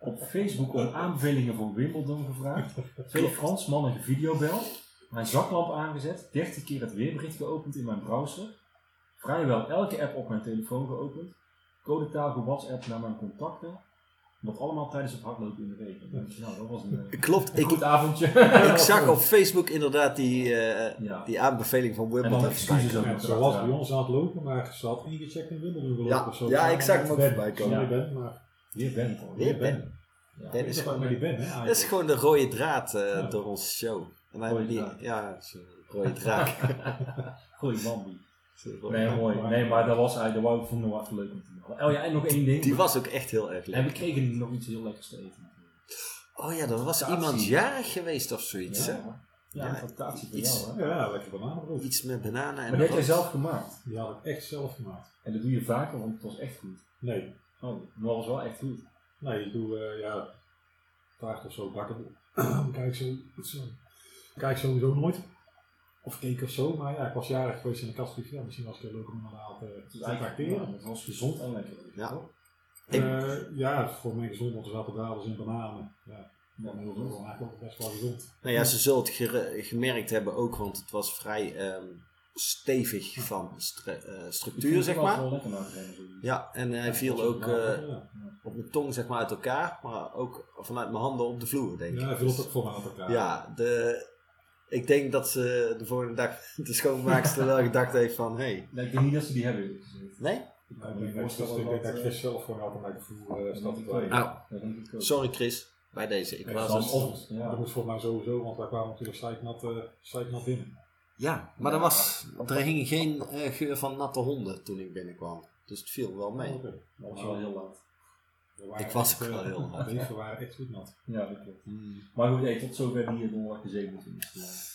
Op Facebook om aanbevelingen voor Wimbledon gevraagd. Twee Fransmannen gevideobeld. Mijn zaklamp aangezet. 30 keer het weerbericht geopend in mijn browser. Vrijwel elke app op mijn telefoon geopend. Codetaal WhatsApp naar mijn contacten. Dat allemaal tijdens het hardlopen in de regen. Dan denk je, Nou, dat was een, eh,
Klopt,
een
ik,
[laughs] goed avondje.
ik zag op Facebook inderdaad die, eh,
Ja.
die aanbeveling van
En dan
Wimbledon.
excuses ook.
ja,
nog
ze was bij
erachteraan.
ons aan het lopen, maar ze had ingecheckt in Wimbledon gelopen
Ja,
of zo.
ja, ik zag hem ook
Ben,
voorbij komen.
sorry, Ben, maar
Weer Ben. hoor.
Weer Ben.
Ja.
Ben
ik
is
zag ook
gewoon,
met die Ben, hè?
dat is
eigenlijk.
gewoon de rode draad eh,
Ja.
door onze show. En dan
Rode
hebben we
draad.
die, ja, dat is een rode
[laughs]
draad.
Goeie Bambi.
Dat is een rode-
Nee, mooi. Nee, maar dat was eigenlijk, dat wou ik vond ik nog echt leuk om te doen. Oh ja, en nog één ding.
Die was ook echt heel erg
En
leuk.
we kregen nog iets heel lekkers te eten.
Oh ja, er was
Actie.
iemand jarig geweest of zoiets, hè?
ja, ja, een fantatie voor
Iets-
jou, hè.
Ja, lekker bananenbrood.
Iets met bananen en
Maar dat heb jij
brood.
zelf gemaakt.
Die had ik echt zelf gemaakt.
En dat doe je vaker, want het was echt goed.
Nee,
Oh, maar het was wel echt goed.
nee, ik doe eh, ja, [clears throat] taart of zo bakken. kijk, zo, zo. kijk sowieso nooit. of keek of zo, maar ja, ik was jarig geweest in de kast. Ja, misschien was het heel leuk om inderdaad eh, te
Ja,
tracteren.
Het was gezond en lekker.
Ja.
toch?
Ik-
Eh, ja, voor mijn gezondheid zaten dadels en bananen. Ja,
Ja,
dan heel veel, maar eigenlijk ook best wel gezond.
Nou ja, ze zullen het gere- gemerkt hebben ook, want het was vrij ehm, stevig van stre- eh,
Ik
structuur,
vind
zeg
het wel
maar.
Wel lekker maken, hè, zo.
Ja, en hij viel ook eh, op mijn tong zeg maar uit elkaar, maar ook vanuit mijn handen op de vloer, denk ik.
ja, veel ook voor me aan elkaar.
Ja, de, ik denk dat ze de volgende dag [laughs] de schoonmaakster wel gedacht heeft van, hé, hey,
Nee, ik denk niet dat ze die hebben.
nee?
Ja, ik denk dat ik denk dat
eh,
ik vis zelf gewoon altijd bij de vloer eh, staat te
Nee.
kleden.
Nou,
Dat denk ik ook.
sorry Chris, bij deze. Ik
Ja,
was dus-
dan
het-
op. Dat
Ja.
moest volgens mij sowieso, want wij kwamen natuurlijk slijpnat, eh slijpnat binnen.
Ja, maar er, was, er hing geen eh, geur van natte honden toen ik binnenkwam. Dus het viel wel mee.
Oké.
Dat was wel heel laat.
We waren
Ik was
echt,
ook
eh,
wel heel nat.
Deze waren echt goed nat.
Ja, dat klopt.
Hmm.
Maar goed, hey, tot zover die eh, donderdag dus, 17.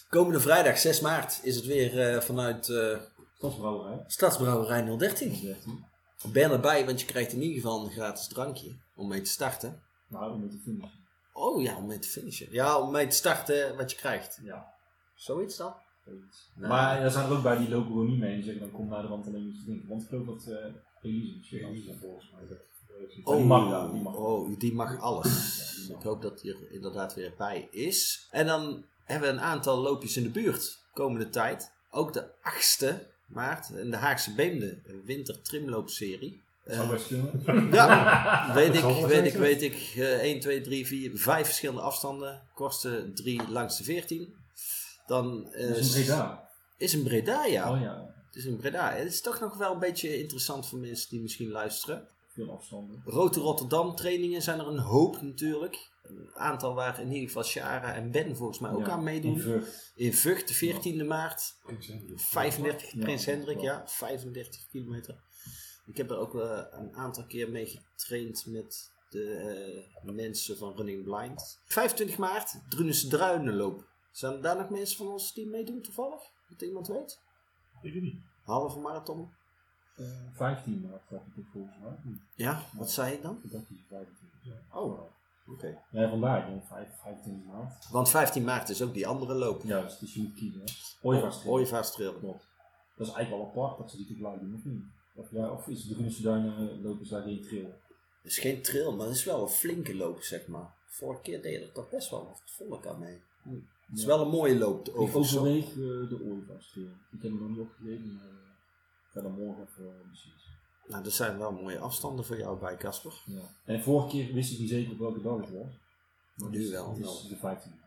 Komende vrijdag 6 maart is het weer eh, vanuit eh,
Stadsbrouwerij.
Stadsbrouwerij 013.
13.
Ben erbij, want je krijgt in ieder geval een gratis drankje om mee te starten.
Nou, om het te finishen.
Oh ja, om mee te finishen. Ja, om mee te starten wat je krijgt.
Ja.
Zoiets dan?
zoiets.
Nou.
Maar daar zijn er ook bij die lopen gewoon niet mee. Die zeggen dan kom naar de wand alleen te drinken. Want ik geloof dat eh Elise een chick
Elise
is.
volgens mij. Eh,
Oh. Die mag dat, die mag.
oh, die mag alles.
Ja, die
Ik
mag.
hoop dat hij er inderdaad weer bij is. En dan hebben we een aantal loopjes in de buurt komende tijd. Ook de 8e maart in de Haagse Beemde een wintertrimloopserie.
Dat zou
Eh,
best kunnen.
ja, weet
zal
ik,
wel
weet
zijn,
ik,
zo.
weet ik. Eh, 1, 2, 3, 4, 5 verschillende afstanden. Kortste 3, langste 14. Dan eh,
Dat is een Breda.
Is een Breda, ja.
Oh ja,
Het is een Breda. Het is toch nog wel een beetje interessant voor mensen die misschien luisteren.
veel afstanden.
Rote Rotterdam trainingen zijn er een hoop natuurlijk. Een aantal waar in ieder geval Shara en Ben volgens mij ook
Ja,
aan
In
meedoen.
Vught.
In Vught, de 14e maart.
Prins Hendrik.
35,
Ja,
Prins Hendrik,
ja.
ja. 35 kilometer. Ik heb er ook eh, een aantal keer mee getraind met de eh, mensen van Running Blind. 25 maart, Drunense Druinenloop. Zijn daar nog mensen van ons die meedoen toevallig? Dat iemand weet?
Ik weet niet.
Halve marathon.
Eh, 15 maart dacht ik ook volgens mij.
Ja, wat zei ik dan?
Ik dacht dat je 25 was.
Hmm. Oh, oké.
Ja, vandaar. Ik denk 5, 25 maart.
Want 15 maart is ook die andere loop.
Juist, dus je moet kiezen. hè.
Oh,
Ooievaarstrip.
Ooievaarstrail.
Klopt. Dat is eigenlijk wel apart dat ze die tegelijk doen, of niet? Of, ja, of is de Groense Duinen eh, lopen ze daar geen trail?
Het is geen trail, maar het is wel een flinke loop, zeg maar. Vorige keer deed ik toch best wel wat volk aan mee. Het is wel een mooie loop
Ik
overigens.
overweeg eh, de Ooievaarstrail. Ik heb hem nog niet opgegeven, maar eh, ik ga dan morgen of eh, precies.
Nou, dat zijn wel mooie afstanden voor jou bij Casper.
Ja. En vorige keer wist ik niet zeker op welke dag het was. Maar
Nu
het is-
wel,
Het
wel.
is de 15.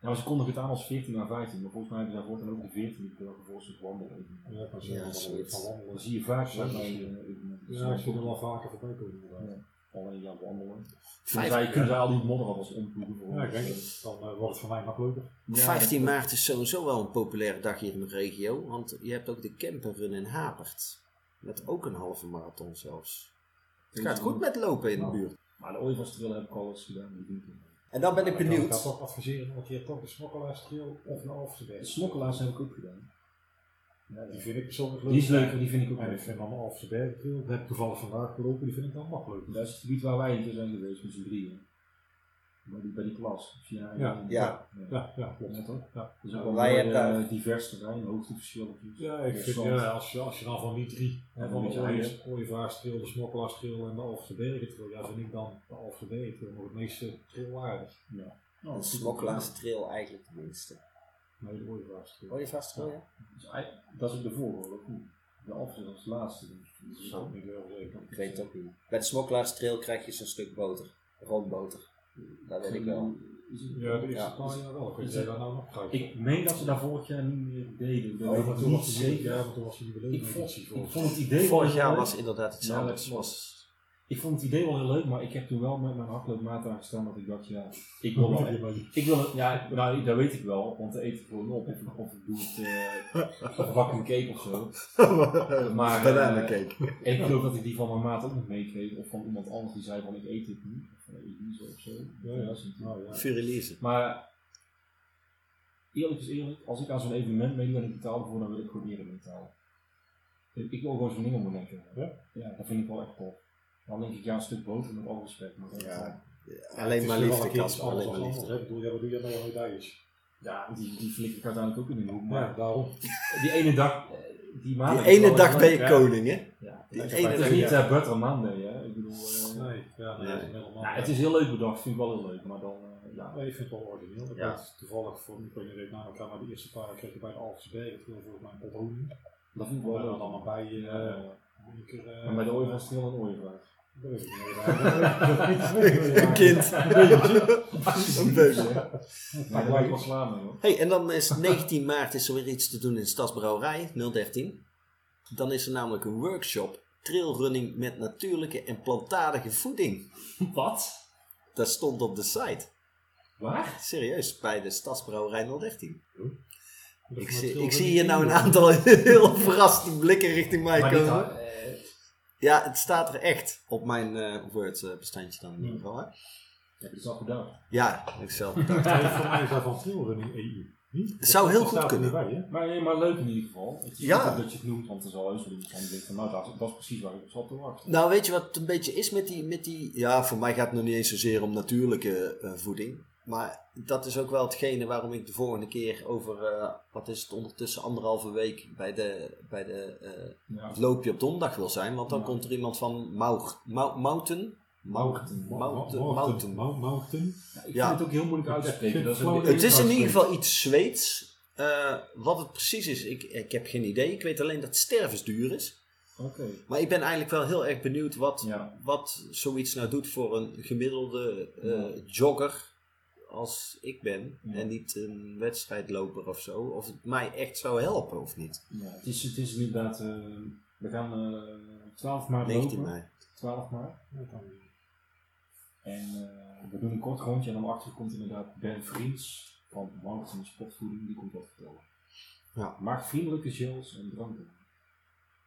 Ja, maar ze kondigen het aan als 14 naar 15, maar volgens mij hebben ze daarvoor dan ook de 14 die wel vervolgens het wandelen.
Ja, ik was
Ja,
helemaal
zoiets.
van
Dan
wandelen.
zie je vaak
Ja,
dat bij
precies.
eh, evenementen.
Ja, ik zie er wel vaker voorbij komen inderdaad.
Alleen ja, wandelen. Kunnen
Vijf-
zij, kunnen zij al die modderrabbels omvoegen voor
Ja,
ons?
ik denk het. Dan eh, wordt het voor mij nog leuker.
Ja,
15 maart is sowieso wel een populaire dag hier in de regio. Want je hebt ook de camperrun in Hapert. Met ook een halve marathon zelfs. Het gaat goed Nou. met lopen in de buurt.
Maar de ooievaarstrail heb ik al eens gedaan. Die doen
En dan ben ik
Maar Ik kan
benieuwd.
toch adviseren om een keer toch de smokkelaars trail of een
de
Alphenberg.
snokkelaars heb ik ook gedaan. Ja,
Die
die,
vind ik persoonlijk leuk.
die is leuk, die vind ik ook
En ik
leuk.
vind dan de Alphenberg trail, dat heb ik toevallig vandaag gelopen, die vind ik dan nog leuk.
Dat is het gebied waar wij een keer zijn geweest met z'n drieën. Bij die, bij die klas. Ja,
Ja.
Ja.
Ja, ja, klopt.
Net hoor.
Ja.
Dus ook wel
Wij
wij
hebben daar-
divers terrein, hoogteverschil. natuurlijk.
Ja, ik vind,
Interessant.
ja, als, je, als je dan van die drie,
Ja,
hè, van
die
de
zijn
Ooie- Ooievaarstril, de Smokkelaarstril en de Alpse Bergentrail, ja, vind ik dan de Alpse Bergentrail nog het meeste trilwaardig.
Nou,
Een
goed.
smokkelaastrail eigenlijk de minste.
Nee, de Ooievaarstril.
Oh,
Hoor je vast, hoor je?
Dus eigenlijk- Dat is ook de voorhoor, ook niet. De Alpse is als laatste. denk ik.
Dat is ook niet heel zeker.
Ik weet het ook niet. Bij de smokkelaastrail krijg je zo'n stuk boter. Roomboter. Dat weet ik wel.
Is het-
Ja, de eerste
Ja.
paar jaar wel. Kun
Is
jij
het-
dat nou nog gebruiken?
Ik meen dat ze daar vorig jaar niet meer deden. Ik ben
Oh, maar
het
toen
niet
was die-
zeker.
ja, maar toen was die jubileum
ik, vond,
editie
ik
volgens
vond het idee
Vorig
wel
jaar
heel
was
leuk.
inderdaad iets
Ja, dat
anders.
klopt.
Was
Ik vond het idee wel heel leuk, maar ik heb toen wel met mijn hardloopmaat aangestaan dat ik dacht, ja, ik wil
mij.
wel Ik wil het, ja, nou, ik- dat weet ik wel, want dan eet ik gewoon op. Of, of ik doe het, eh of bak een cake of zo.
[laughs]
Maar, eh,
Bananencake.
En ik geloof dat ik die van mijn maat ook nog meekreeg, of van iemand anders die zei van ik eet dit niet, of van eet niet zo of zo.
Ja, ja,
Dat is natuurlijk-
nou ja.
Furilize.
Maar eerlijk is eerlijk, als ik aan zo'n evenement meedoe en ik betaal ervoor, dan wil ik gewoon eerder betalen. Ik ik wil gewoon zo'n ding om mijn nek hebben.
Ja?
ja, dat vind ik wel echt tof. Dan denk ik, ja, een stuk boter met al respect. Maar dat-
Ja. Alleen maar
Het is wel een
liefde,
keer iets
Casper.
anders
Alleen
dan
maar
anders, hè.
liefde.
Ik bedoel, ja, wat doe jij nou aan medailles?
Ja, die, die flikker ik uiteindelijk ook in de hoek.
Ja,
Maar
daarom.
die ene dag, eh, die maand.
Die ene
wel-
dag ben je
ja.
koning, hè?
Ja,
Die
dat
ene
is
dag,
niet
ja.
eh, Butter Monday, hè? Ik bedoel, eh,
Nee, ja, nee,
Nee.
dat is een helemaal.
ja, het is heel leuk bedacht, vind ik wel heel leuk, maar dan, eh, ja.
Nee, ik vind het wel origineel. Ik
Ja.
had toevallig voor ik weet niet even naar elkaar, maar de eerste paar kreeg ik bij de Alversberg. Dat viel volgens mij een pothoen.
Dat vind ik wel
Waar dan
leuk.
allemaal bij. eh,
Ja.
een keer, eh,
En bij de ooievaar
[laughs]
was het heel een
[laughs]
ooievaar.
Dat weet ik niet.
Een kind. [laughs] Een baby.
Maar daar ben ik wel klaar mee, hoor.
Hey, en dan is 19 maart is er weer iets te doen in Stadsbrouwerij 013. Dan is er namelijk een workshop trailrunning met natuurlijke en plantaardige voeding.
Wat?
Dat stond op de site.
Waar?
Serieus, bij de Stadsbrouwerij 013. Ik, zie- ik
hier
zie hier nou een aantal [laughs] heel verraste blikken richting mij
Maar dit had-
komen.
eh,
Ja, het staat er echt op mijn eh Word-bestandje dan in ieder geval. Hè?
heb je het al gedaan?
Ja, heb ik zelf bedacht.
[laughs] Voor mij is dat van trailrunning EU. Niet? Dat
zou heel
staat
goed
er
kunnen.
niet bij, hè?
Maar, nee, maar leuk in ieder geval. Het is
Ja.
goed dat je het noemt, want er zal heus wel iemand van die denkt van nou, dat, dat is precies waar ik op zat te wachten.
Nou, weet je wat het een beetje is met die, met die... Ja, voor mij gaat het nog niet eens zozeer om natuurlijke eh, voeding. Maar dat is ook wel hetgene waarom ik de volgende keer over... eh, wat is het ondertussen, anderhalve week bij, de, bij de, eh,
Ja.
het loopje op donderdag wil zijn. Want dan
Ja.
komt er iemand van Maug, Mau- Mountain.
Mountain.
Mau- Mountain.
Mountain.
Mountain.
Mou- Mountain.
Ja, ik
Ja.
vind het ook heel moeilijk uit te spreken. Dat is een
Het
beetje-
Het is in ieder geval iets Zweeds. Eh, wat het precies is, ik, ik heb geen idee. Ik weet alleen dat het stervensduur is.
Oké.
Maar ik ben eigenlijk wel heel erg benieuwd wat,
Ja.
wat zoiets nou doet voor een gemiddelde eh,
Ja.
jogger als ik ben.
Ja.
En niet een wedstrijdloper of zo. Of het mij echt zou helpen of niet.
Ja, het, is, het is inderdaad, eh, we gaan eh 12 maart
19
lopen.
mei.
12 maart. En eh, we doen een kort rondje en om achter komt inderdaad Ben Vriends van Mountain Sportvoeding, die komt dat vertellen.
Ja.
Maak vriendelijke gels en dranken.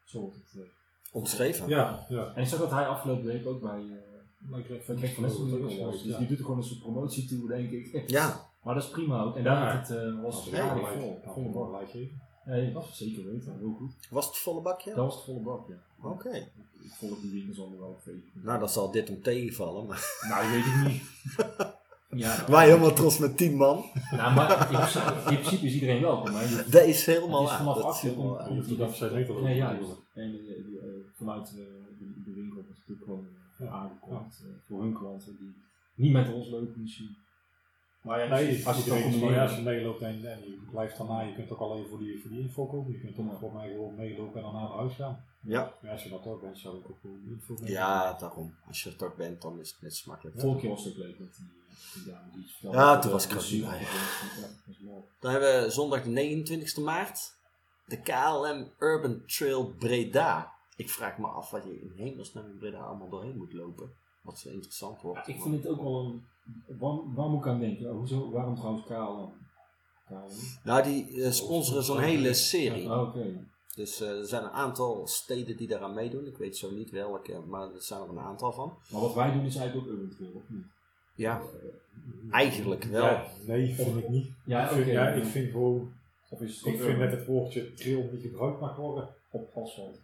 Zo wordt het. eh.
Omschreven.
Ja, ja.
En ik zag dat hij afgelopen week ook bij eh,
Maar ik kreeg
Van
Oh,
Kijk van Lessen ook al was. Dus die
Ja.
doet er gewoon een soort promotie toe, denk ik.
Ja.
Maar dat is prima ook. En daar
Ja.
had het, eh, was het
Ja,
aardig
lijkt-
vol.
kan
Volle
ik wel
bak.
een lijstje geven.
Nee, dat is zeker weten. Heel goed.
Was het volle bakje?
Dat was het volle bak, ja.
Oké.
Ik volg die winkels al wel even.
Nou, dan zal dit hem tegenvallen. Maar... [laughs]
Nou, dat weet ik niet. ja,
Wij helemaal trots met 10 man.
Nou, maar in, in principe is iedereen welkom. Hè. Je-
Dat is helemaal
Het is
waar.
vanaf
Dat is
acht uur
helemaal
om-
waar.
Je hoeft niet af te zijn, weet je wel.
Nee, ja, joh. En eh, die, eh, vanuit eh, de, de winkel wordt natuurlijk gewoon
Ja.
eh, aangekondigd eh, voor hun klanten die niet met ons lopen misschien. Maar ja,
Nee,
als
als
je
je
het ook
denkt,
combineert-
ja, als je meeloopt en, en je blijft daarna, je kunt ook alleen voor die, voor die info komen. Je kunt ook
Ja.
voor mij gewoon meelopen en daarna naar huis gaan.
Ja.
Maar als je dat ook bent, zou ik ook gewoon niet voor mij.
ja, daarom. Als je het toch bent, dan is het net zo makkelijk.
Vorige keer was het ook leuk met die, eh, die dame die iets vertelde.
Ja,
Dat,
toen was
eh,
ik er
de
niet
zuur-
bij.
Ja, dat was mooi.
Dan hebben we zondag de 29 maart de KLM Urban Trail Breda. Ik vraag me af wat je in hemelsnaam in Breda allemaal doorheen moet lopen. Wat zo interessant wordt.
Ja, ik vind het ook wel een... Waar, waar moet ik aan denken? Hoezo, waarom trouwens KLM? KLM?
Nou, die eh, sponsoren zo'n hele serie.
Ah, Oké.
Dus eh, er zijn een aantal steden die daaraan meedoen. Ik weet zo niet welke, maar er zijn er een aantal van.
Maar wat wij doen is eigenlijk ook urban trail, of niet?
Ja, eigenlijk wel.
Ja, nee, vind ik niet.
Ja,
ik, vind,
oké.
ja, ik vind gewoon,
Of is het
ik
ook
vind
urban?
dat het woordje trail niet gebruikt mag worden.
op asfalt.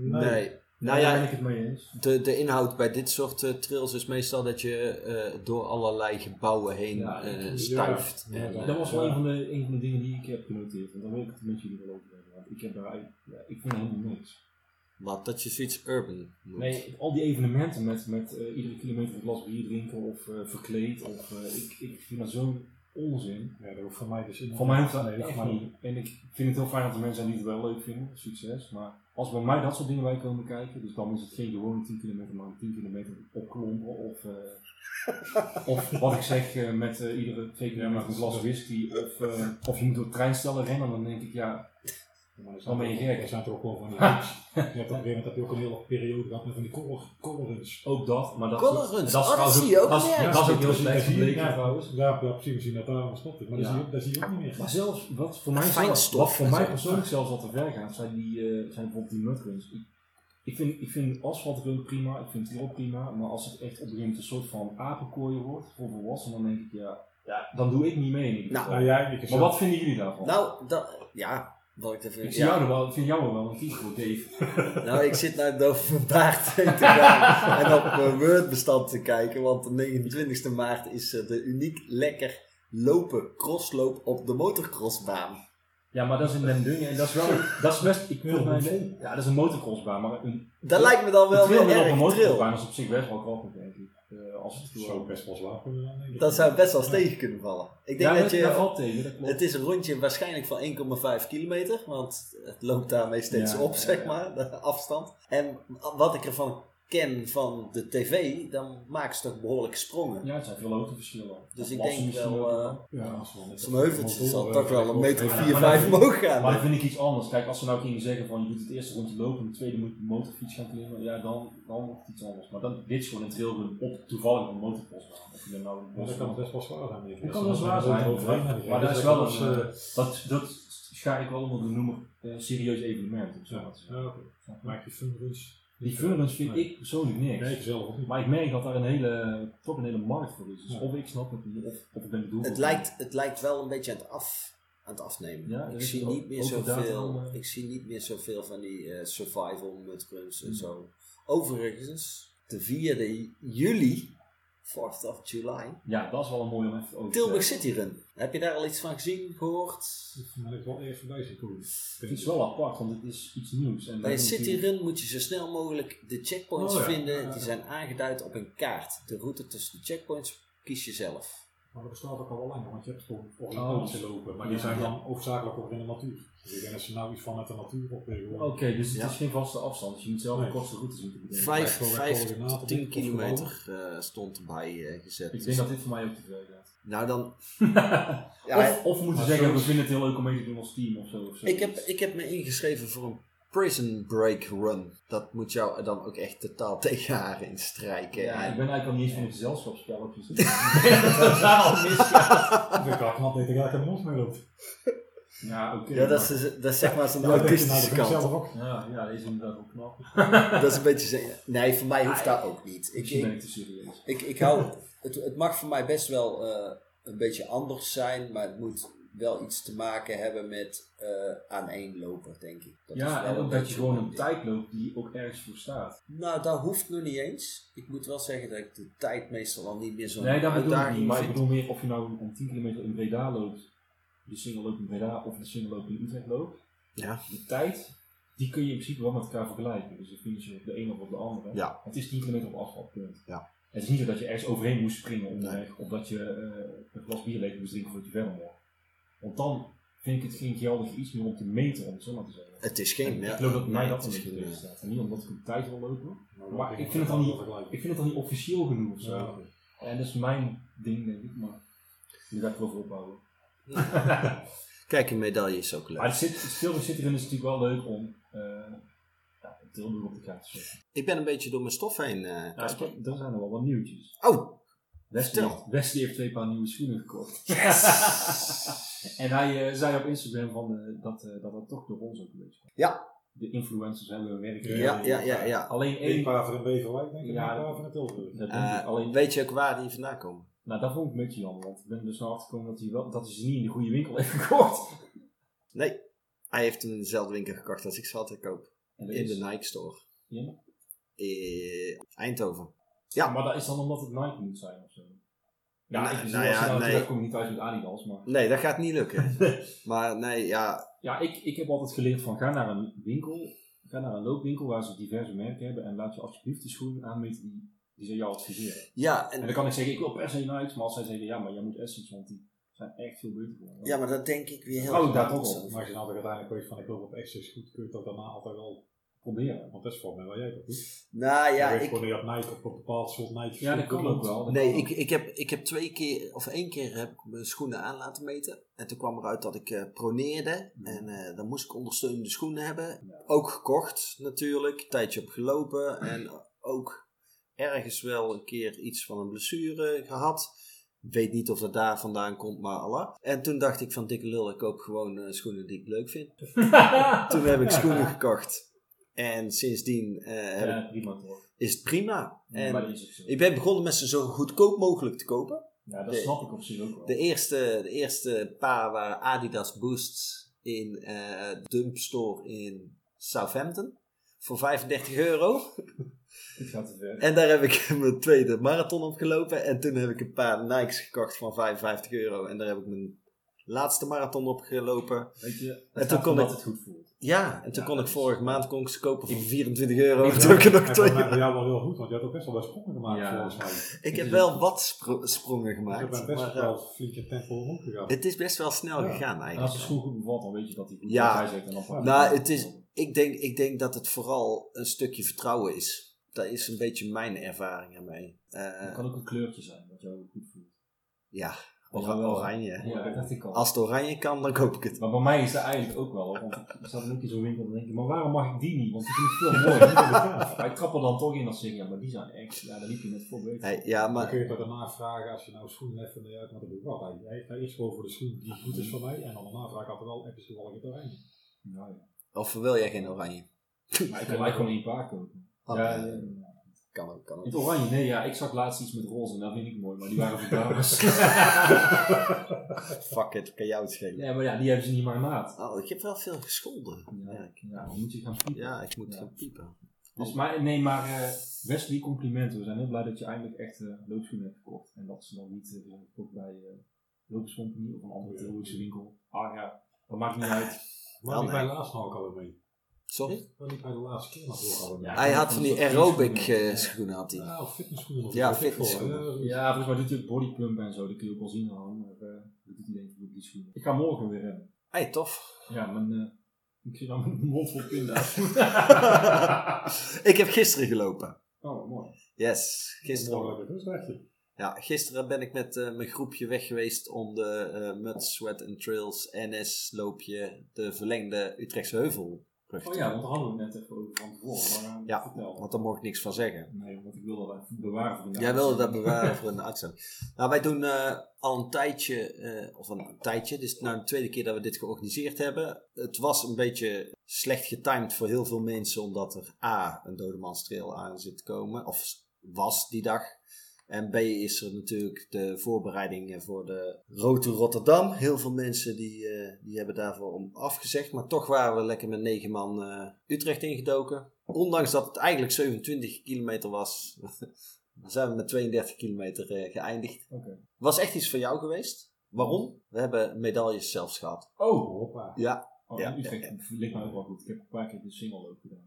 nee. Nou
Daar
ja,
ben ik het mee eens.
De, de inhoud bij dit soort eh, trails is meestal dat je eh, door allerlei gebouwen heen
Ja,
eh,
ja.
stuift.
Ja,
En, eh,
Dat was wel
Ja.
een, van de, een van de dingen die ik heb genoteerd. En daar wil ik het met jullie wel over hebben. Want ik, heb daar, ja, ik vind helemaal niks.
Wat, dat je zoiets urban noemt.
Nee, al die evenementen met, met eh, iedere kilometer een glas bier drinken of eh, verkleed. Of, eh, ik, ik vind dat zo'n onzin.
Ja, dat hoeft voor mij dus in.
Voor mij hoeft dat
Nee,
echt
maar
niet. En ik vind het heel fijn dat er mensen zijn die het wel leuk vinden. Succes. Maar als bij mij dat soort dingen bij komen kijken, dus dan is het geen gewone 10 kilometer, maar een 10 kilometer opklompen. Of, eh, of wat ik zeg, eh, met eh, iedere 2 kilometer een glas whisky. Of, eh, of je moet door treinstellen rennen. Dan denk ik, ja,
maar er
Dan
zijn
ben je
toch-
gek.
Er zijn toch ook wel
[laughs]
van die hits. Je hebt op een gegeven moment heb je ook een hele periode gehad met van die color, colorants.
ook dat. Maar dat,
Colorants,
dat, is
oh, dat
trouwens
zie je ook
dat is-
nergens.
dat is ook
Ja,
heel slecht
zie je-
gebleken
ja,
trouwens.
Ja, ja, precies, misschien dat daarom stopt het. Maar
Ja.
dat, zie je, dat zie je ook niet meer.
Maar zelfs wat voor mij,
Fijn
zelf,
stof.
wat voor mij
Ja.
persoonlijk zelfs wat te ver gaat, zijn, die, eh, zijn bijvoorbeeld die mudguns. Ik, ik vind, ik vind asfaltrun prima, ik vind trail prima, maar als het echt op een gegeven moment een soort van apenkooien wordt voor volwassenen, dan denk ik ja, ja dan doe ik niet mee. in ieder
Nou,
geval.
Nou ja, ik
maar wat vinden jullie daarvan?
Nou, dat, ja, wat ik
ik
even...
zie jou er wel, ik vind jou er wel een type voor, Dave.
Nou, ik zit naar [laughs] over mijn baard heen te gaan en op mijn Word-bestand te kijken, want de 29 maart is eh, de uniek lekker lopen crossloop op de motocrossbaan.
Ja, maar dat is in Den Dungen en dat is wel... Dat is best... Ik wil
Heel
mijn,
vol.
ja, dat is een motocrossbaan, maar een,
Dat lijkt me dan wel
een
weer
trail met op een
erg
motocrossbaan
trail.
is op zich best wel grappig, denk ik. Eh, als het
Dat zou best wel zwaar kunnen zijn, denk ik.
Dat zou best wel eens tegen kunnen vallen. Ik
Ja,
denk dat
dat, dat
je...
valt tegen, dat klopt.
Het is een rondje waarschijnlijk van 1,5 kilometer, want het loopt daarmee steeds
Ja,
op,
ja,
zeg
ja.
maar, de afstand. En wat ik ervan ken van de tv, dan maken ze toch behoorlijk sprongen.
Ja, het zijn veel hoogteverschillen.
Dus
Of
ik
plassen
denk
misschien
wel,
ook.
eh,
Ja, als we wel net
Zo'n
als-
heuveltje
als-
zal
als-
toch wel een
als-
meter of
als-
maar
4,
dat
5
vind ik-
omhoog
Maar dat
gaan.
vind ik iets anders. Kijk, als ze nou gingen zeggen van je doet het eerste rondje lopen, het tweede moet je op de motorfiets gaan klimmen, ja, dan, dan wordt het iets anders. Maar dan, dit is gewoon een trailrun op toevallig een motocrossbaan. Of je dan nou
Ja, dat kan best wel zwaar zijn. denk ik.
Dat kan wel zwaar zijn, maar- maar dat is wel
als,
een,
eh,
dat, dat schaar ik wel onder de noemer eh, serieus evenement. Of zo.
ja, ja, oké.
Snap je?
Maak je funruns.
Die funruns vind ik persoonlijk niks.
Nee, ik zelf ook niet.
Maar ik merk dat daar een hele, toch een hele markt voor is. Dus
Ja.
of ik snap het niet, of, of ik ben bedoeld.
Het lijkt, het lijkt wel een beetje aan het, af, aan het afnemen.
Ja, er
ik,
is
zie
ook-
niet meer
ook inderdaad
zoveel,
wel, eh,
ik zie niet meer zoveel van die eh, survival mudruns
Hmm.
en zo. Overigens, de 4e juli, 4th of July,
Ja, dat is wel een mooie om even over te
Tilburg
zeggen.
City Run. Heb je daar al iets van gezien, gehoord?
Maar ik wel erg voorbij zien komen.
Het is wel apart, want het is iets nieuws. En
Bij een
dat is
City
natuurlijk-
Run moet je zo snel mogelijk de checkpoints
Oh ja.
vinden.
Ja.
Die zijn aangeduid op een kaart. De route tussen de checkpoints kies je zelf.
Maar dat bestaat ook al wel langer, want je hebt gewoon
Oh,
organisatie lopen. Maar die
Ja.
zijn dan hoofdzakelijk ook in de natuur. Dus ik denk dat ze nou iets vanuit de natuur opwegen.
Oké, dus het
Ja.
is geen vaste afstand. Dus je moet zelf een
Nee.
korte route zien te bedenken.
Vijf,
Bij- bij
vijf
coördinaten
tot 10
of gewoon.
kilometer eh, stond erbij eh, gezet.
Ik denk dat dit voor mij ook te veel gaat.
Nou dan, ja,
of, of we moeten
maar
zeggen, we
soms-
vinden het heel leuk om mee te doen als team of zo. Of zo.
ik heb, ik heb me ingeschreven voor een prison break run. Dat moet jou er dan ook echt totaal [laughs] tegen haar in strijken.
Ja,
En-
ik ben eigenlijk al niet eens van een gezelschapsspel. op
[laughs]
je zit. Totaal misgaat.
Ik kan knap dat ik eigenlijk een mos mee loopt.
Ja, oké.
ja, dat, is, dat is zeg maar zijn
Ja, ik denk, nou, dat
autistische
kan ik
kant.
zelf ook.
maar- ja, ja, deze is inderdaad wel knap.
Dat is een beetje zijn- Nee, voor mij hoeft dat ook niet. Ik,
Misschien ben
ik,
ik Dus te serieus.
ik, ik hou... Het, het mag voor mij best wel eh, een beetje anders zijn, maar het moet wel iets te maken hebben met eh aaneenlopen, denk ik. Dat is
Ja,
wel
en ook dat je
beetje
gewoon
mijn
een
ding.
tijd loopt die ook ergens voor staat.
Nou, dat hoeft nog niet eens. Ik moet wel zeggen dat ik de tijd meestal al niet meer zo'n
Nee, dat bedoel ik niet.
uitdaging
Maar ik
vind.
bedoel meer of je nou om 10 kilometer in Breda loopt, de single loopt in Breda of de single loopt in Utrecht loopt.
Ja.
De tijd, die kun je in principe wel met elkaar vergelijken. Dus dan finish je op de een of op de andere.
Ja.
Het is 10 kilometer op afval, punt.
Ja.
Het is niet zo dat je ergens overheen moest springen onderweg,
Nee.
of dat je eh, een glas bier leeg moest drinken voordat je verder mocht. Want dan vind ik het geen geldig iets meer om te meten, om het zo maar te zeggen.
Het is
En
geen...
ik geloof dat mij
nee,
dat
het
een
is
beetje
geen-
tegen staat. En niet omdat ik op tijd wil lopen.
dat
Maar
denk
ik vind het
wel
dan niet,
gelijk.
ik vind het dan niet officieel genoeg of zo.
Ja.
En Eh, dat is mijn ding, denk ik, maar die ga ik wel voor ophouden.
Kijk, een medaille is ook
Maar
leuk.
het, zit, dus het Tilburg City Run is natuurlijk wel leuk om eh ja, een Tilburg op de kaart te zetten.
Ik ben een beetje door mijn stof heen, eh,
Ja, ik
Casper.
heb- er zijn er wel wat nieuwtjes.
Oh!
Wesley,
Vertel.
heeft- Wesley heeft twee paar nieuwe schoenen gekocht.
[laughs]
en hij eh, zei op Instagram van, eh, dat, eh, dat dat toch door ons ook geweest was.
Ja.
De influencers hebben hun werk
Ja,
Ja,
gedaan.
ja, ja, ja.
Alleen
Eén
één.
paar van Beverwijk, denk ik, en
Ja.
een paar van de Tilburg. Dus
Dat denk ik,
Eh,
alleen
weet je ook waar die vandaan komen?
Nou, dat vond ik een beetje jammer, want ik ben er dus naar achtergekomen dat hij, wel, dat hij ze niet in de goede winkel heeft gekocht.
Nee. Hij heeft hem in dezelfde winkel gekocht als ik ze altijd koop.
En dat
In
is-
de Nike store.
Ja.
Eh, Eindhoven.
ja. Maar dat is dan omdat het Nike moet zijn of zo. Ja,
Nou,
ik bedoel,
nou
als je
ja,
nou
nee.
terugkomt, niet thuis met Adidas, maar...
Nee, dat gaat niet
[laughs]
lukken. maar nee, ja.
Ja, ik, ik heb altijd geleerd van ga naar een winkel, ga naar een loopwinkel waar ze diverse merken hebben en laat je alsjeblieft de schoenen aanmeten die, die ze jou adviseren.
Ja,
En
en,
dan kan ik zeggen, ik wil per se Nike, maar als zij zeggen, ja, maar jij moet Essence, want die zijn echt veel beter voor.
ja, maar dat denk ik weer heel
Oh, daar
erg
toch
aan.
Maar als je nou uiteindelijk weet van ik loop op extra is goed, kun je dat daarna altijd wel
proberen.
Want dat is voor mij wel jij toch goed?
Nou ja,
je weet
ik,
gewoon dat je op Nike op een bepaald soort Nike
Ja, dat
schoen
kan ook
loopt.
wel. dat
Nee,
kan
ik, ik, heb, ik heb twee keer, of één keer heb ik mijn schoenen aan laten meten. En toen kwam eruit dat ik eh, proneerde.
Ja.
En eh, dan moest ik ondersteunende schoenen hebben.
Ja.
Ook gekocht natuurlijk, een tijdje op gelopen. En ook ergens wel een keer iets van een blessure gehad. Weet niet of dat daar vandaan komt, maar Allah. En toen dacht ik van dikke lul, ik koop gewoon eh, schoenen die ik leuk vind.
[laughs]
Toen heb ik schoenen gekocht. En sindsdien eh, heb ik-
Ja, prima toch.
is het prima. En
Maar dat is ook zo.
ik ben begonnen met ze zo goedkoop mogelijk te kopen.
Ja, dat
de-
snap ik op zich ook wel.
De eerste, de eerste paar waren Adidas Boosts in eh Dump Store in Southampton. voor 35 euro.
Dit gaat te ver.
En daar heb ik [laughs] mijn tweede marathon op gelopen. En toen heb ik een paar Nikes gekocht van 55 euro. En daar heb ik mijn laatste marathon op gelopen.
Weet je,
toen
het gaat
kon
omdat
ik-
het goed voelt.
Ja, en toen
Ja,
kon ik
dat is-
vorige maand kon ik ze kopen voor 24 euro. En toen heb ik er nog
En
twee.
volgens mij voor jou wel heel goed, want je had ook best wel wat sprongen gemaakt
Ja.
volgens mij.
Ik heb wel wat spro- sprongen
Dus ik ben
gemaakt.
best
Maar
wel
eh,
flinke tempo omhoog gegaan.
het is best wel snel
Ja.
gegaan
En als de
eigenlijk.
schoen goed bevalt, dan weet je dat hij goed
Ja.
hij zegt. En dan pak je
Nou,
hem.
het is, ik, denk, ik denk dat het vooral een stukje vertrouwen is. Dat is een beetje mijn ervaring ermee. Eh,
Het kan ook een kleurtje zijn, wat jou goed voelt.
ja,
Ja,
ora-
wel.
oranje.
Ja, dat dacht ik al.
Als het oranje kan, dan koop ik het.
Maar bij mij is dat eigenlijk ook wel, hoor, want ik [laughs] zat ook in zo'n winkel en denk ik, maar waarom mag ik die niet? Want die vind ik veel mooier. maar ik trap er dan toch in als ze zeggen, ja, maar die zijn echt, ja, daar liep je net voor beter.
Nee, ja,
Dan kun
maar
je toch daarna vragen, als je nou schoenen even uit, maar dat doe ik wel. Hij- Hij hij is gewoon voor de schoen die goed is voor mij. En dan daarna vraag ik altijd wel, heb je toevallig het oranje?
Ja, ja.
of wil jij geen oranje?
Maar ik kan eigenlijk gewoon één paar kopen.
Oh,
ja,
eh,
ja, ja.
Kan ook, kan
In het
ook.
oranje, nee, ja, ik zag laatst iets met roze en dat vind ik mooi, maar die waren voor dames.
Fuck it, kan jou het schelen.
nee, maar ja, die hebben ze niet maar maat.
Oh, ik heb wel veel gescholden. Ja,
Ja,
ik,
ja, dan moet je gaan piepen.
ja, ik moet
Ja.
gaan piepen.
Dus, maar, nee, maar eh, Wesley, complimenten. We zijn heel blij dat je eindelijk echt eh, loopschoenen hebt gekocht. En dat ze dan niet eh, zijn gekocht bij eh Loopscompany of een andere theologische winkel. Ah ja, dat maakt niet uit.
Maar
Wel,
liep hij
nee.
laatst nog ook al mee?
Sorry?
Waar liep hij de laatste keer nog ook al mee?
Ja.
Hij had van die aerobic eh,
Ja.
schoenen, had hij.
Nou, fitnessschoenen. of
Ja,
weet ik veel.
fitnessschoenen.
Eh,
Ja, volgens mij doet hij ook bodypump en zo. Dat kun je ook wel zien aan. Maar eh, dat doet hij denk ik ook die schoenen. Ik ga morgen weer hebben.
Hey,
[laughs]
tof.
Ja, mijn, eh, ik zit aan mijn [laughs] mond vol pinda's.
ik heb gisteren gelopen.
oh, mooi.
Yes,
Morgen
gisteren.
heb ik een rustdagje.
Ja, gisteren ben ik met eh, mijn groepje weg geweest om de eh Mud, Sweat and Trails NS loopje, de verlengde Utrechtse Heuvelrug.
Oh ja, want daar hadden we het net even over van tevoren. Maar, eh,
Ja,
vertel.
Want daar mocht ik niks van zeggen.
Nee, want ik wilde dat even bewaren voor de
Jij wilde dat bewaren [laughs] voor een uitzending. Nou, wij doen eh, al een tijdje, eh, of een tijdje, dit is nou de tweede keer dat we dit georganiseerd hebben. Het was een beetje slecht getimed voor heel veel mensen, omdat er A, een dodemanstrail aan zit te komen, of was die dag. En B is er natuurlijk de voorbereiding voor de Route Rotterdam. Heel veel mensen die, eh, die hebben daarvoor om afgezegd. Maar toch waren we lekker met negen man eh, Utrecht ingedoken. Ondanks dat het eigenlijk 27 kilometer was, zijn we met 32 kilometer eh, geëindigd.
Oké.
Was echt iets voor jou geweest. Waarom? We hebben medailles zelfs gehad.
Oh,
Hoppa.
Ja,
Oh,
Ja.
ja, Utrecht ligt mij ook wel goed. Ik heb een paar keer de single loop gedaan.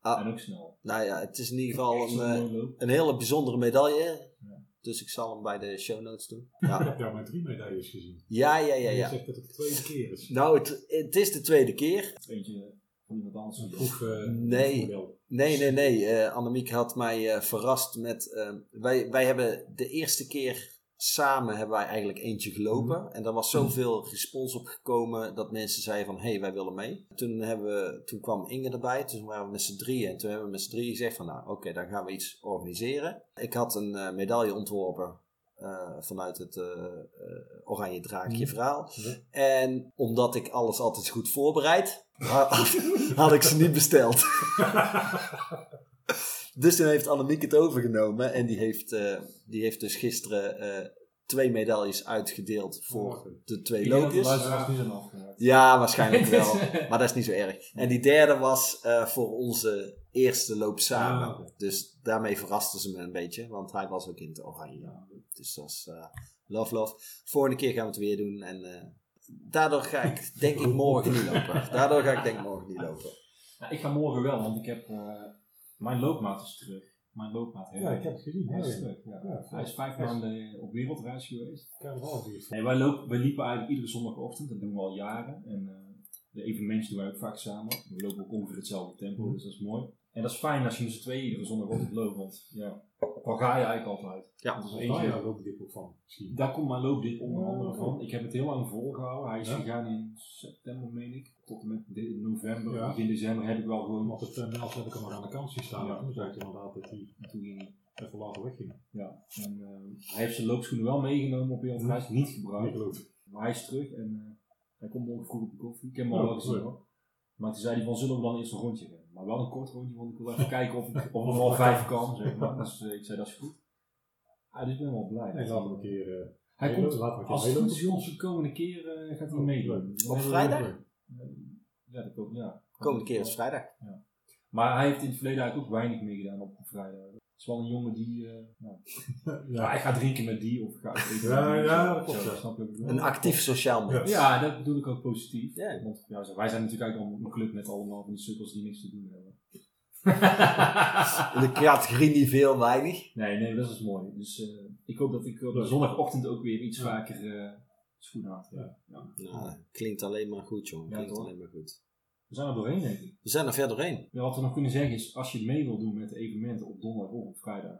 Ah.
En ook snel.
nou ja, het is in ieder geval
Echt
een,
zo'n
eh,
mooie loop.
een hele bijzondere medaille.
Ja.
Dus ik zal hem bij de show notes doen.
Ik
Ja,
heb jou met drie medailles gezien.
ja, ja, ja.
[laughs]
Je
ja.
zegt dat het de tweede keer is.
Nou, het, het is de tweede keer.
Eentje van iemand anders.
Een proef. eh,
Nee.
model.
Nee, nee, nee. Eh, Annemiek had mij eh, verrast met. eh, wij, wij hebben de eerste keer samen hebben wij eigenlijk eentje gelopen. En daar was zoveel respons op gekomen dat mensen zeiden van hé, hey, wij willen mee. Toen, hebben we, toen kwam Inge erbij, toen waren we met z'n drieën. En toen hebben we met z'n drieën gezegd van nou oké, dan gaan we iets organiseren. Ik had een eh, medaille ontworpen eh, vanuit het eh, eh, Oranje Draakje
Mhm.
verhaal.
Ja.
En omdat ik alles altijd goed voorbereid, had, had ik ze niet
[laughs]
besteld. dus toen heeft Annemiek het overgenomen en die heeft, eh, die heeft dus gisteren eh, twee medailles uitgedeeld voor de twee
Ik denk dat de
loopjes.
luisteraars nu zijn afgehaakt.
Ja, waarschijnlijk
Het
wel.
is,
Maar dat is niet zo erg. En die derde was eh, voor onze eerste loop samen.
Ah, oké.
Dus daarmee verrasten ze me een beetje. Want hij was ook in het oranje. Dus dat is eh, love, love. Volgende keer gaan we het weer doen. En eh, daardoor ga ik denk ik morgen niet lopen. Daardoor ga ik denk ik morgen niet lopen.
Nou, ik ga morgen wel, want ik heb... eh, mijn loopmaat is terug. Mijn loopmaat
Ja,
Herwin.
ik heb het gezien.
Hij is
Ja,
terug, ja.
Ja,
Hij is vijf
ja.
maanden op wereldreis geweest.
Carnaval is hier.
Nee, wij, lopen, wij liepen eigenlijk iedere zondagochtend, dat doen we al jaren. En eh, de evenementen doen wij ook vaak samen. We lopen ook ongeveer hetzelfde
Mhm.
tempo, dus dat is mooi. En dat is fijn als je met z'n tweeën iedere zondagochtend loopt, want ja, waar ga je eigenlijk altijd?
Ja.
Want als er
Ah,
eentje-
ja, Daar loopt dit ook van. Misschien.
daar komt mijn loopdip onder andere
Oh.
van. Ik heb het heel lang volgehouden. Hij is
Ja?
gegaan in september, meen ik. Tot en met de- november,
Ja.
begin december heb ik wel gewoon
Omdat het eh, Nels heb ik hem maar aan de kant zien staan.
Ja.
En Toen zei hij inderdaad dat hij
En toen ging hij.
even later wegging.
Ja. En, eh, hij heeft zijn loopschoenen wel meegenomen op wereldreis, niet
Niet
gebruikt.
geloofd.
Maar hij is terug en eh, hij komt morgen vroeg op de koffie. Ik heb hem al
Oh,
wel gezien
leuk.
hoor. Maar toen zei hij van, zullen we dan eerst een rondje rennen? Maar wel een kort rondje, want ik wil
[laughs]
even kijken of ik of ik al vijf kan, zeg maar. Dus eh, ik zei, dat is goed. Ah, dus ik ben wel blij.
En laten we een keer... eh,
hij
meelopen.
komt,
Laten we een keer
als het goed
meelopen.
is, jongens, de komende keer eh, gaat hij
Oh,
meedoen.
leuk.
Dan
Op
hebben we-
vrijdag?
Ja, Eh, dat komt, ja.
Komende keer is vrijdag.
Maar hij heeft in het verleden eigenlijk ook weinig meer gedaan op vrijdag. Het is wel een jongen die. eh nou, [laughs] ja, hij gaat drinken met die of gaat eten met
Ja,
die.
ja,
Zo,
dat klopt, ja.
Snap je wat ik bedoel?
Een actief sociaal mens.
Ja, dat bedoel ik ook positief.
Ja.
Want ja, zo, wij zijn natuurlijk eigenlijk allemaal een club met allemaal van die sukkels die niks te doen hebben.
In de categorie niet veel, weinig.
nee, nee, dat is mooi. Dus eh, ik hoop dat ik op de zondagochtend ook weer iets vaker eh schoenen aan trek. Ja.
Nou, klinkt alleen maar goed, jongen.
Ja,
klinkt
toch?
alleen maar goed.
We zijn er doorheen, denk ik.
We zijn er verder doorheen.
Ja, wat we nog kunnen zeggen is, als je mee wil doen met de evenementen op donderdag of op vrijdag,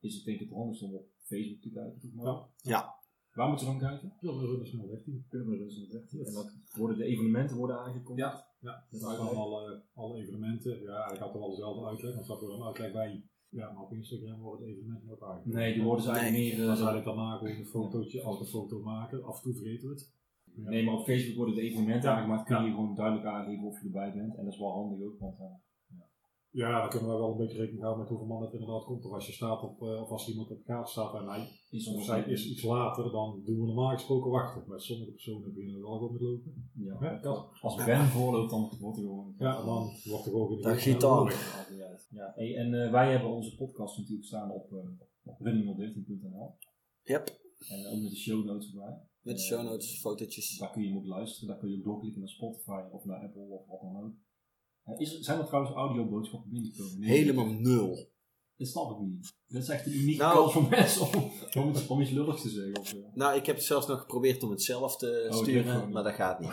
is het denk ik het handigst om op Facebook te kijken. toch maar?
Ja.
Waar moeten we dan kijken?
Wilmerunners 013.
Purmerus en En dan worden de evenementen worden aangekondigd.
Ja. Ja, dat
Uitleg.
zijn alle, alle eh, evenementen. Ja, ik had er wel dezelfde uitleg, want dat wordt een uitleg bij. Ja, maar op Instagram worden evenementen ook eigenlijk.
Nee, die worden ze eigenlijk meer... eh,
Dan zou ik dan maken een fotootje, als we een foto maken. Af en toe vergeten we het. Ja.
nee, maar op Facebook worden de evenementen
Ja.
aangemaakt. Kun je
Ja.
gewoon duidelijk aangeven of je erbij bent. En dat is wel handig ook, want... eh,
Ja, dan kunnen we wel een beetje rekening houden met hoeveel man het inderdaad komt. Of als je staat op, eh, of als iemand op kaart staat bij mij,
is
of
ons-
zij is iets later, dan doen we normaal gesproken wachten. Met sommige personen beginnen we wel gewoon met lopen.
Ja,
Ja, dat-
Als Ben voorloopt, dan wordt er gewoon...
Ja, dan wordt er gewoon
Dan giet dan.
Maakt niet uit. Ja, hey, en eh, wij hebben onze podcast natuurlijk staan op, eh op running013.nl.
Yep.
En eh, ook met de show notes erbij.
Met de
Eh,
show notes, fotootjes.
Daar kun je hem ook luisteren. Daar kun je ook doorklikken naar Spotify of naar Apple of wat dan ook. Eh, Is, zijn er trouwens audioboodschappen binnengekomen? Nee.
Helemaal nul.
Dat snap ik niet. Dat is echt een unieke
Nou.
kans voor mensen om, om, iets, om iets lulligs te zeggen.
[laughs]
Of, eh.
Nou, ik heb het zelfs nog geprobeerd om het zelf te
Oh, dat kan
sturen,
niet.
maar dat gaat
[laughs]
niet.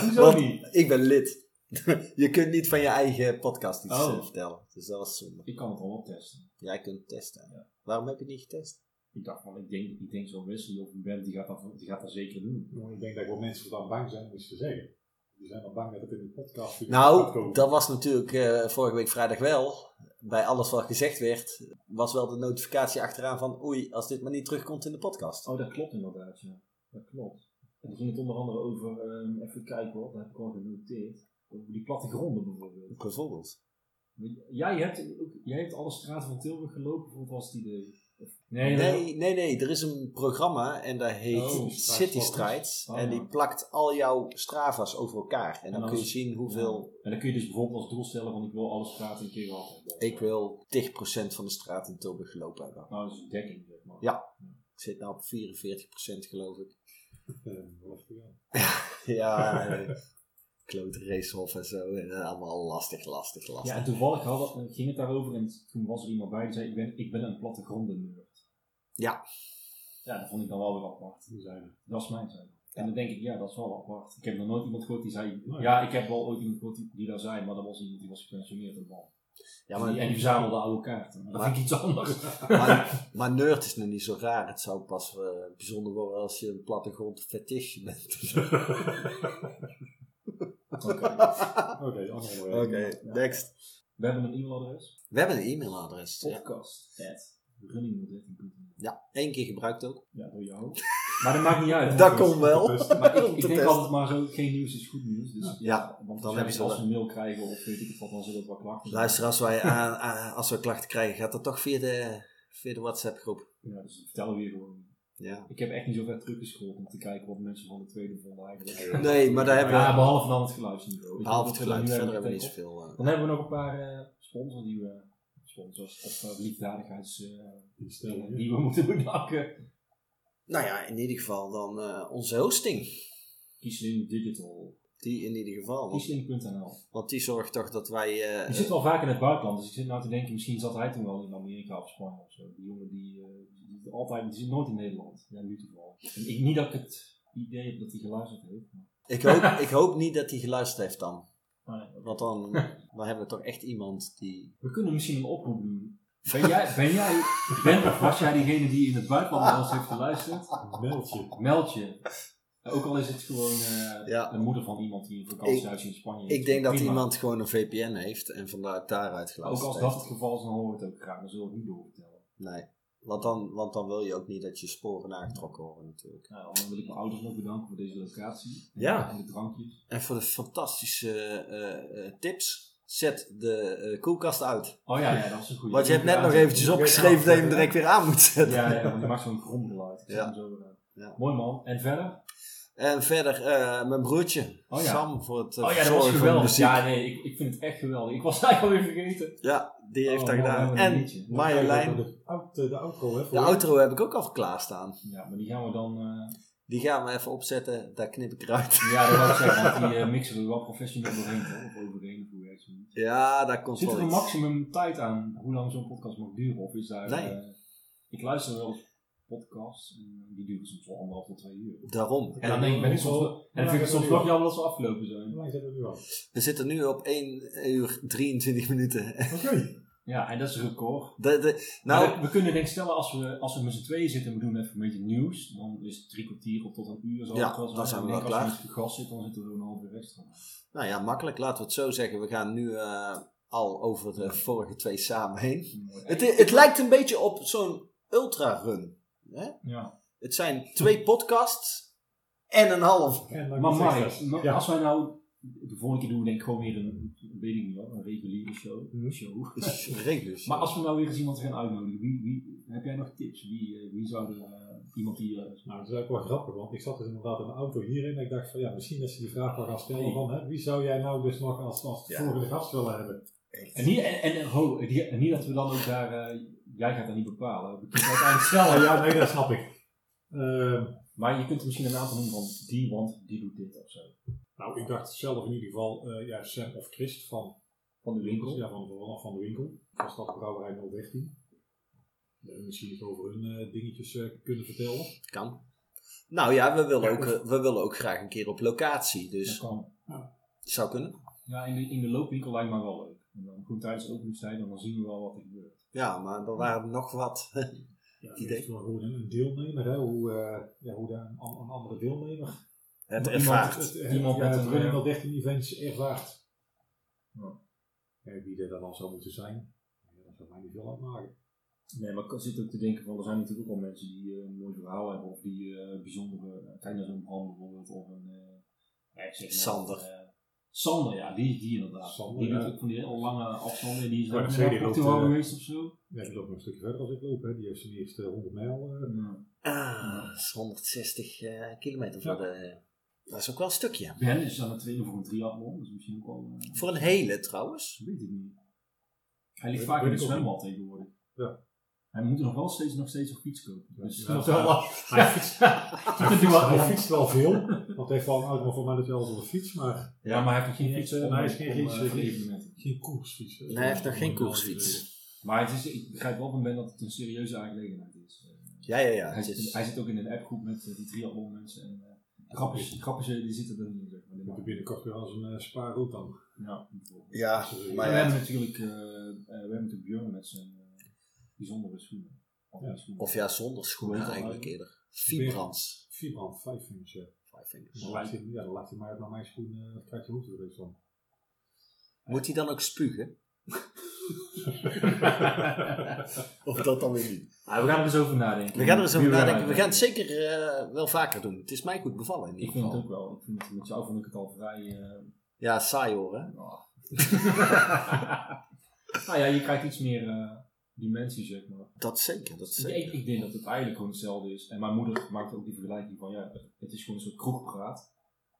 Hoezo
Wat?
niet?
Ik ben lid. [laughs] je kunt niet van je eigen podcast iets
Oh.
eh, vertellen. Dus dat was zonde.
Ik kan het al optesten.
Jij kunt het testen.
Ja.
Waarom heb je het niet getest?
Ik dacht van, ik denk, ik denk zo'n Wesley of een band, die gaat dat, die gaat dat zeker doen.
Nou, Ik denk dat wel mensen dan bang zijn om iets te zeggen. Die zijn dan bang dat het in de podcast weer gaat
Nou,
komen.
dat was natuurlijk eh, vorige week vrijdag wel. Bij alles wat gezegd werd, was wel de notificatie achteraan van oei, als dit maar niet terugkomt in de podcast.
Oh, dat klopt inderdaad, ja. Dat klopt. En toen ging het onder andere over, ehm, even kijken hoor, dat heb ik al genoteerd. Over die plattegronden bijvoorbeeld.
Bijvoorbeeld.
Jij hebt, ook- jij hebt alle straten van Tilburg gelopen, of wat was het idee? Of-
Nee, nee, nee. Er is een programma en dat heet
Oh,
City
Strides.
Strides.
Oh,
en
ja.
die plakt al jouw Strava's over elkaar. En dan
als-
kun je zien hoeveel...
En dan kun je dus bijvoorbeeld als doel stellen van ik wil alle straten een keer gehad hebben.
Ik wil 10% van de straat in Tilburg gelopen hebben.
Nou, dat is een dekking zeg maar.
Ja. Ik zit nou op 44% geloof ik.
Eh, wel even, ja.
[laughs] Ja, [laughs] eh, klote racehof en zo. En eh, allemaal lastig, lastig,
Ja,
lastig.
en toevallig had dat, ging het daarover en toen was er iemand bij die zei ik ben, ik ben een plattegrondennerd.
Ja.
Ja, dat vond ik dan wel weer apart.
Die zijn er.
Dat is mijn zijn. En dan denk ik, ja, dat is wel apart. Ik heb nog nooit iemand gehoord die zei.
Nee.
Ja, ik heb wel ooit iemand gehoord die, die daar zei, maar dat was iemand die was gepensioneerd op man.
Ja,
en,
maar,
die, en die verzamelde oude kaarten. Maar Dat
Maar-
vind ik iets
[laughs]
anders.
maar, maar nerd is nog niet zo raar. Het zou pas eh, bijzonder worden als je een plattegrond fetish bent.
Oké,
[laughs]
ander
Oké,
onderwerp.
next. Oh.
We hebben een e-mailadres.
We hebben een e-mailadres. Ja.
Podcast. At running
Ja, één keer gebruikt ook.
Ja, door jou. Maar dat maakt niet uit.
Dat kon wel.
Maar
[laughs]
ik,
Te
ik denk
testen.
altijd maar zo, geen nieuws is goed nieuws. Dus ja, want
hebben
dan hebben
ze
ze als
wel-
we een mail krijgen of weet ik het wat, dan zullen het wel klachten zijn.
Luister, als, [laughs] wij aan, aan- als we klachten krijgen, gaat dat toch via de, via de WhatsApp-groep.
Ja, dus vertel weer gewoon.
Ja.
Ik heb echt niet zo ver teruggescrollt om te kijken wat mensen van de tweede vonden eigenlijk.
Nee, maar daar hebben
Ja,
we...
behalve dan het geluidsniveau. Ik
Behalve het
denk dat we daar
geluid, verder
nu
hebben
even
we niet
op-
zoveel... eh,
Dan hebben we nog een paar eh, sponsors die we, sponsors of eh, liefdadigheids eh,
Die stellen
die we moeten bedanken.
Nou ja, in ieder geval dan eh, onze hosting.
Kiesling Digital.
Die in ieder geval. Want,
Kiesling.nl.
want die zorgt toch dat wij... eh,
Ik zit wel vaak in het buitenland, dus ik zit nou te denken, misschien zat hij toen wel in Amerika of Spanje of zo. Die jongen die, eh, die zit altijd, die zit nooit in Nederland. Ja, nu toevallig. En ik, niet dat ik het idee heb dat hij geluisterd heeft. Maar,
[laughs] ik, hoop, ik hoop niet dat hij geluisterd heeft dan.
maar nee.
Want
[laughs]
dan, dan hebben we toch echt iemand die...
We kunnen misschien een oproep doen. Ben jij, ben jij, ben, of was jij diegene die in het buitenland naar ons heeft geluisterd?
een mailtje.
Meld je. Ook al is het gewoon eh,
Ja.
de moeder van iemand die een vakantiehuis in Spanje heeft.
Ik denk dat
Prima.
iemand gewoon een VPN heeft en vandaar daaruit
Ook
geluisterd
als
heeft.
dat het geval is, dan horen we het ook graag. Dan zullen we het niet doorvertellen.
Nee. Want dan, want dan wil je ook niet dat je sporen aangetrokken worden natuurlijk.
Nou, dan wil ik mijn ouders nog bedanken voor deze locatie.
Ja.
En de drankjes.
En voor de fantastische eh, eh, tips. Zet de eh, koelkast uit.
Oh ja, ja, dat is een goede.
Want je hebt net nog eventjes opgeschreven dat je hem direct weer aan moet zetten.
Ja, ja, want die maakt zo'n grom geluid. Ik zet
Ja.
hem zo weer aan.
Ja.
Mooi man. En verder?
En verder eh, mijn broertje,
Oh ja.
Sam, voor het eh,
Oh ja, dat was
verzorgen van de
geweldig.
muziek.
Ja, nee, ik, ik vind het echt geweldig. Ik was [laughs] het eigenlijk alweer vergeten.
Ja, die heeft
Oh,
dat
mooi,
gedaan.
mooi
En
liedje.
Dan krijg je
Marjolein.
ook nog De, out- de outro, hè? voor-
De outro heb ik ook al klaarstaan.
Ja, maar die gaan we dan... eh,
Die gaan we even opzetten, daar knip ik eruit. [laughs]
ja, dat wou ik zeggen, want die eh, mixen we wel professioneel doorheen, toch? Of overheen, of hoe werkt zoiets?
Ja, daar komt
Zit er
wel
een
iets.
maximum tijd aan hoe lang zo'n podcast mag duren? Of is daar...
Nee.
eh, ik luister wel eens podcasts en eh, die duren soms wel anderhalf tot twee uur.
Daarom.
En dan denk ik, ben ik soms... wel- En dan vind ik het soms wel jammer dat ze afgelopen zijn.
Hoe lang zitten we nu al?
We zitten nu op 1 uur 23 minuten. [laughs]
Oké.
Ja, en dat is een record.
De, de,
Nou,
nou,
we, we kunnen denk ik stellen, als we, als we met z'n tweeën zitten en we doen even een beetje nieuws, dan is het drie kwartier of tot een uur. Zal
Ja,
het wel
dan zijn we
Ik denk,
wel
Als
klaar.
we met gas zitten, dan zitten we er een half uur extra.
nou ja, makkelijk. Laten we het zo zeggen. We gaan nu eh, al over de vorige twee samen heen.
Mooi.
Het, het lijkt een beetje op zo'n ultra-run. Hè?
Ja.
Het zijn twee podcasts en een half.
En dan
Maar
komt
Mark,
extra's.
maar
Ja.
als wij nou, de volgende keer doen we denk ik gewoon weer een, weet ik niet hoor, een reguliere show. show.
Regulus.
Maar als we nou weer eens iemand gaan uitnodigen, wie, wie, heb jij nog tips? Wie, eh, wie zou er, eh, iemand die... eh,
Nou, dat is ook wel grappig, want ik zat dus inderdaad in een auto hierin en ik dacht van ja, misschien dat ze die vraag wel gaan stellen van hè, wie zou jij nou dus nog als, als
Ja.
volgende gast willen hebben?
en, niet, en, en, ho, en niet- en niet dat we dan ook daar, eh, jij gaat dat niet bepalen. We kunnen uiteindelijk stellen.
Oh ja, nee, dat snap ik. Ehm,
Maar je kunt er misschien een aantal noemen van die, want die doet dit of zo.
nou, ik dacht zelf in ieder geval eh, ja, Sam of Christ van,
Van de winkel.
Ja, van, van, van de winkel. Van Stad Brouwerij 013. Eh, misschien iets over hun eh, dingetjes eh, kunnen vertellen.
Kan. Nou ja, we willen,
Ja,
ook, eh, we willen ook graag een keer op locatie. Dus
Dat kan.
zou kunnen.
Ja, in de, in de loopwinkel lijkt mij wel leuk. En dan goed tijdens openingstijd, en dan zien we wel wat er gebeurt.
Ja, maar er waren nog wat. [laughs] eh,
Ja,
Idee.
het is wel gewoon een deelnemer, hè? Hoe, eh, ja, hoe daar een, an- een andere deelnemer
Het
Iemand-
ervaart.
Het, het,
Iemand
ja,
met
het
een,
Running
eh,
Wel 13 events ervaart.
Ja.
En wie er dan al zou moeten zijn, ja, dat zou mij niet veel uitmaken.
Nee, maar ik zit ook te denken van, er zijn natuurlijk ook al mensen die eh, een mooi verhaal hebben. Of die eh, bijzondere, kijk naar zo'n Bram bijvoorbeeld, of een... eh, ja, ik zeg maar,
Sander.
eh, Sander, ja, die, die inderdaad.
Sander,
die
ja.
doet ook van die heel lange afstanden. en Die is
Ja,
ook
ik
in
zei,
de
die loopt,
Portugal
eh,
geweest of zo.
Ja, die loopt nog een stukje verder als ik loop. Hè. Die heeft zijn eerste 100 mijl. eh,
Ah, dat is 160 eh, kilometer voor
Ja.
de. Dat is ook wel een stukje.
Ben is aan het trainen voor een triathlon, dus misschien ook wel... eh,
Voor een hele trouwens.
Weet ik niet. Hij ligt
Weet-
vaak in
weet
het
ik ook
zwembad tegenwoordig.
Ja.
Hij moet nog wel steeds, nog steeds een fiets kopen. Dus
Ja.
dat [laughs] is wel lastig.
Hij fietst,
Dat doe ik
hij
wel.
fietst wel veel.
[laughs]
Want hij heeft wel een auto voor mij dat hij altijd op de fiets, maar
Ja, maar hij heeft nog geen fiets.
Nee,
om-
hij is geen
om,
fiets,
eh,
geen-
voor evenementen.
geen Eh, koersfiets.
Nee, hij heeft nog geen koersfiets.
Maar het is, ik begrijp wel van Ben dat het een serieuze aangelegenheid is. Eh,
Ja, ja, ja.
hij,
het
zit,
is-
hij zit ook in een appgroep met eh, die triathlon mensen. En eh grappig, grappig, eh, die zitten er niet in. Zeg maar. Die
Ik heb
maken-
binnenkort weer als een uh, spaarroet dan.
Ja, bijvoorbeeld.
Ja,
Maar
maar
we
ja.
hebben natuurlijk, eh, eh, we hebben natuurlijk Björn met zijn eh, bijzondere schoenen. Of
Ja.
die schoenen.
Of ja, zonder schoenen
Weet je
eigenlijk
wel.
eerder. Vibrans.
Vierbrand, vijf vingers. Ja,
Five
Dus
fingers.
dan laat hij, ja, dan laat hij mij naar mijn schoen, eh, dan krijg je hoefdruk van.
Moet hij dan ook spugen? Of dat dan weer niet?
Ah, we gaan er eens over nadenken.
We gaan er eens over
Wie wij
nadenken. We gaan het
uitnodigen.
zeker eh, wel vaker doen. Het is mij goed bevallen in
eh, Ik
ieder
vind het
geval.
ook wel. Ik vind het, met jou vond ik het al vrij. eh,
Ja, saai hoor hè?
ah. nou ja, je krijgt iets meer eh, dimensie, zeg maar.
Dat zeker, dat
Ja, Ik,
zeker.
ik denk dat het eigenlijk gewoon hetzelfde is. En mijn moeder maakt ook die vergelijking van, ja, het is gewoon een soort kroegpraat.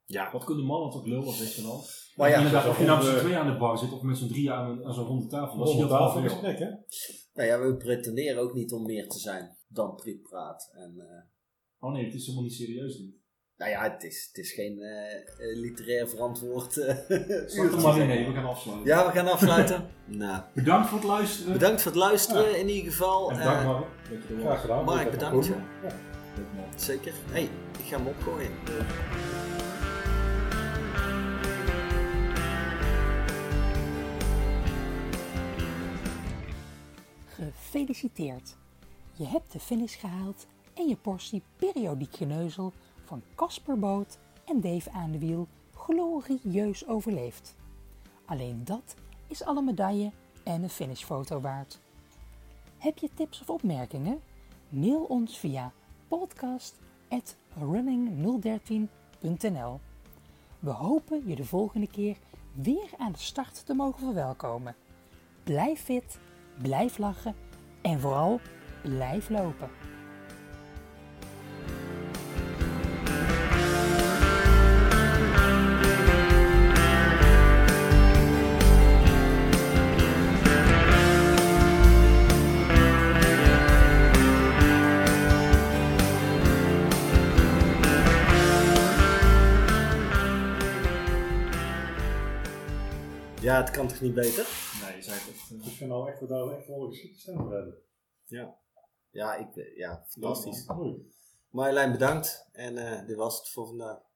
Ja.
Wat kunnen mannen toch lullen, zeg je dan?
Maar ja,
Inderdaad, of je nou met z'n
eh,
tweeën aan de bar zit of met z'n drieën aan, een- aan zo'n ronde tafel. Dat
Dat is
scheelt
heel
wel
tafel
veel.
gesprek, hè?
Nou ja, we pretenderen ook niet om meer te zijn dan prikpraat. En, eh,
Oh nee, het is helemaal niet serieus dit.
nou ja, het is, het is geen eh, eh, literair verantwoord eh [laughs]
Stap er
uurtje.
maar in, nee, we gaan afsluiten.
Ja, we gaan afsluiten. [laughs] nou,
Bedankt voor het luisteren.
bedankt voor het luisteren in ieder geval.
En
Eh,
bedankt Mark, dat je er was.
Graag gedaan.
Mark,
Dat is
bedankt,
goed.
joh.
Ja.
Leuk, man.
zeker. hey, ik ga hem opgooien.
Gefeliciteerd! Je hebt de finish gehaald en je portie periodiek geneuzel van Casper Boot en Dave aan de wiel glorieus overleefd. Alleen dat is alle medaille en een finishfoto waard. Heb je tips of opmerkingen? Mail ons via podcast@running013.nl. We hopen je de volgende keer weer aan de start te mogen verwelkomen. Blijf fit, blijf lachen en vooral blijf lopen.
Ja, het kan toch niet beter?
Nee, je zei het echt. eh,
Ik vind nou echt dat we daar echt wel een geschikte stem voor hebben.
Ja, ik, eh, ja
Dat is
fantastisch.
mooi.
Marjolein, bedankt. En eh, dit was het voor vandaag.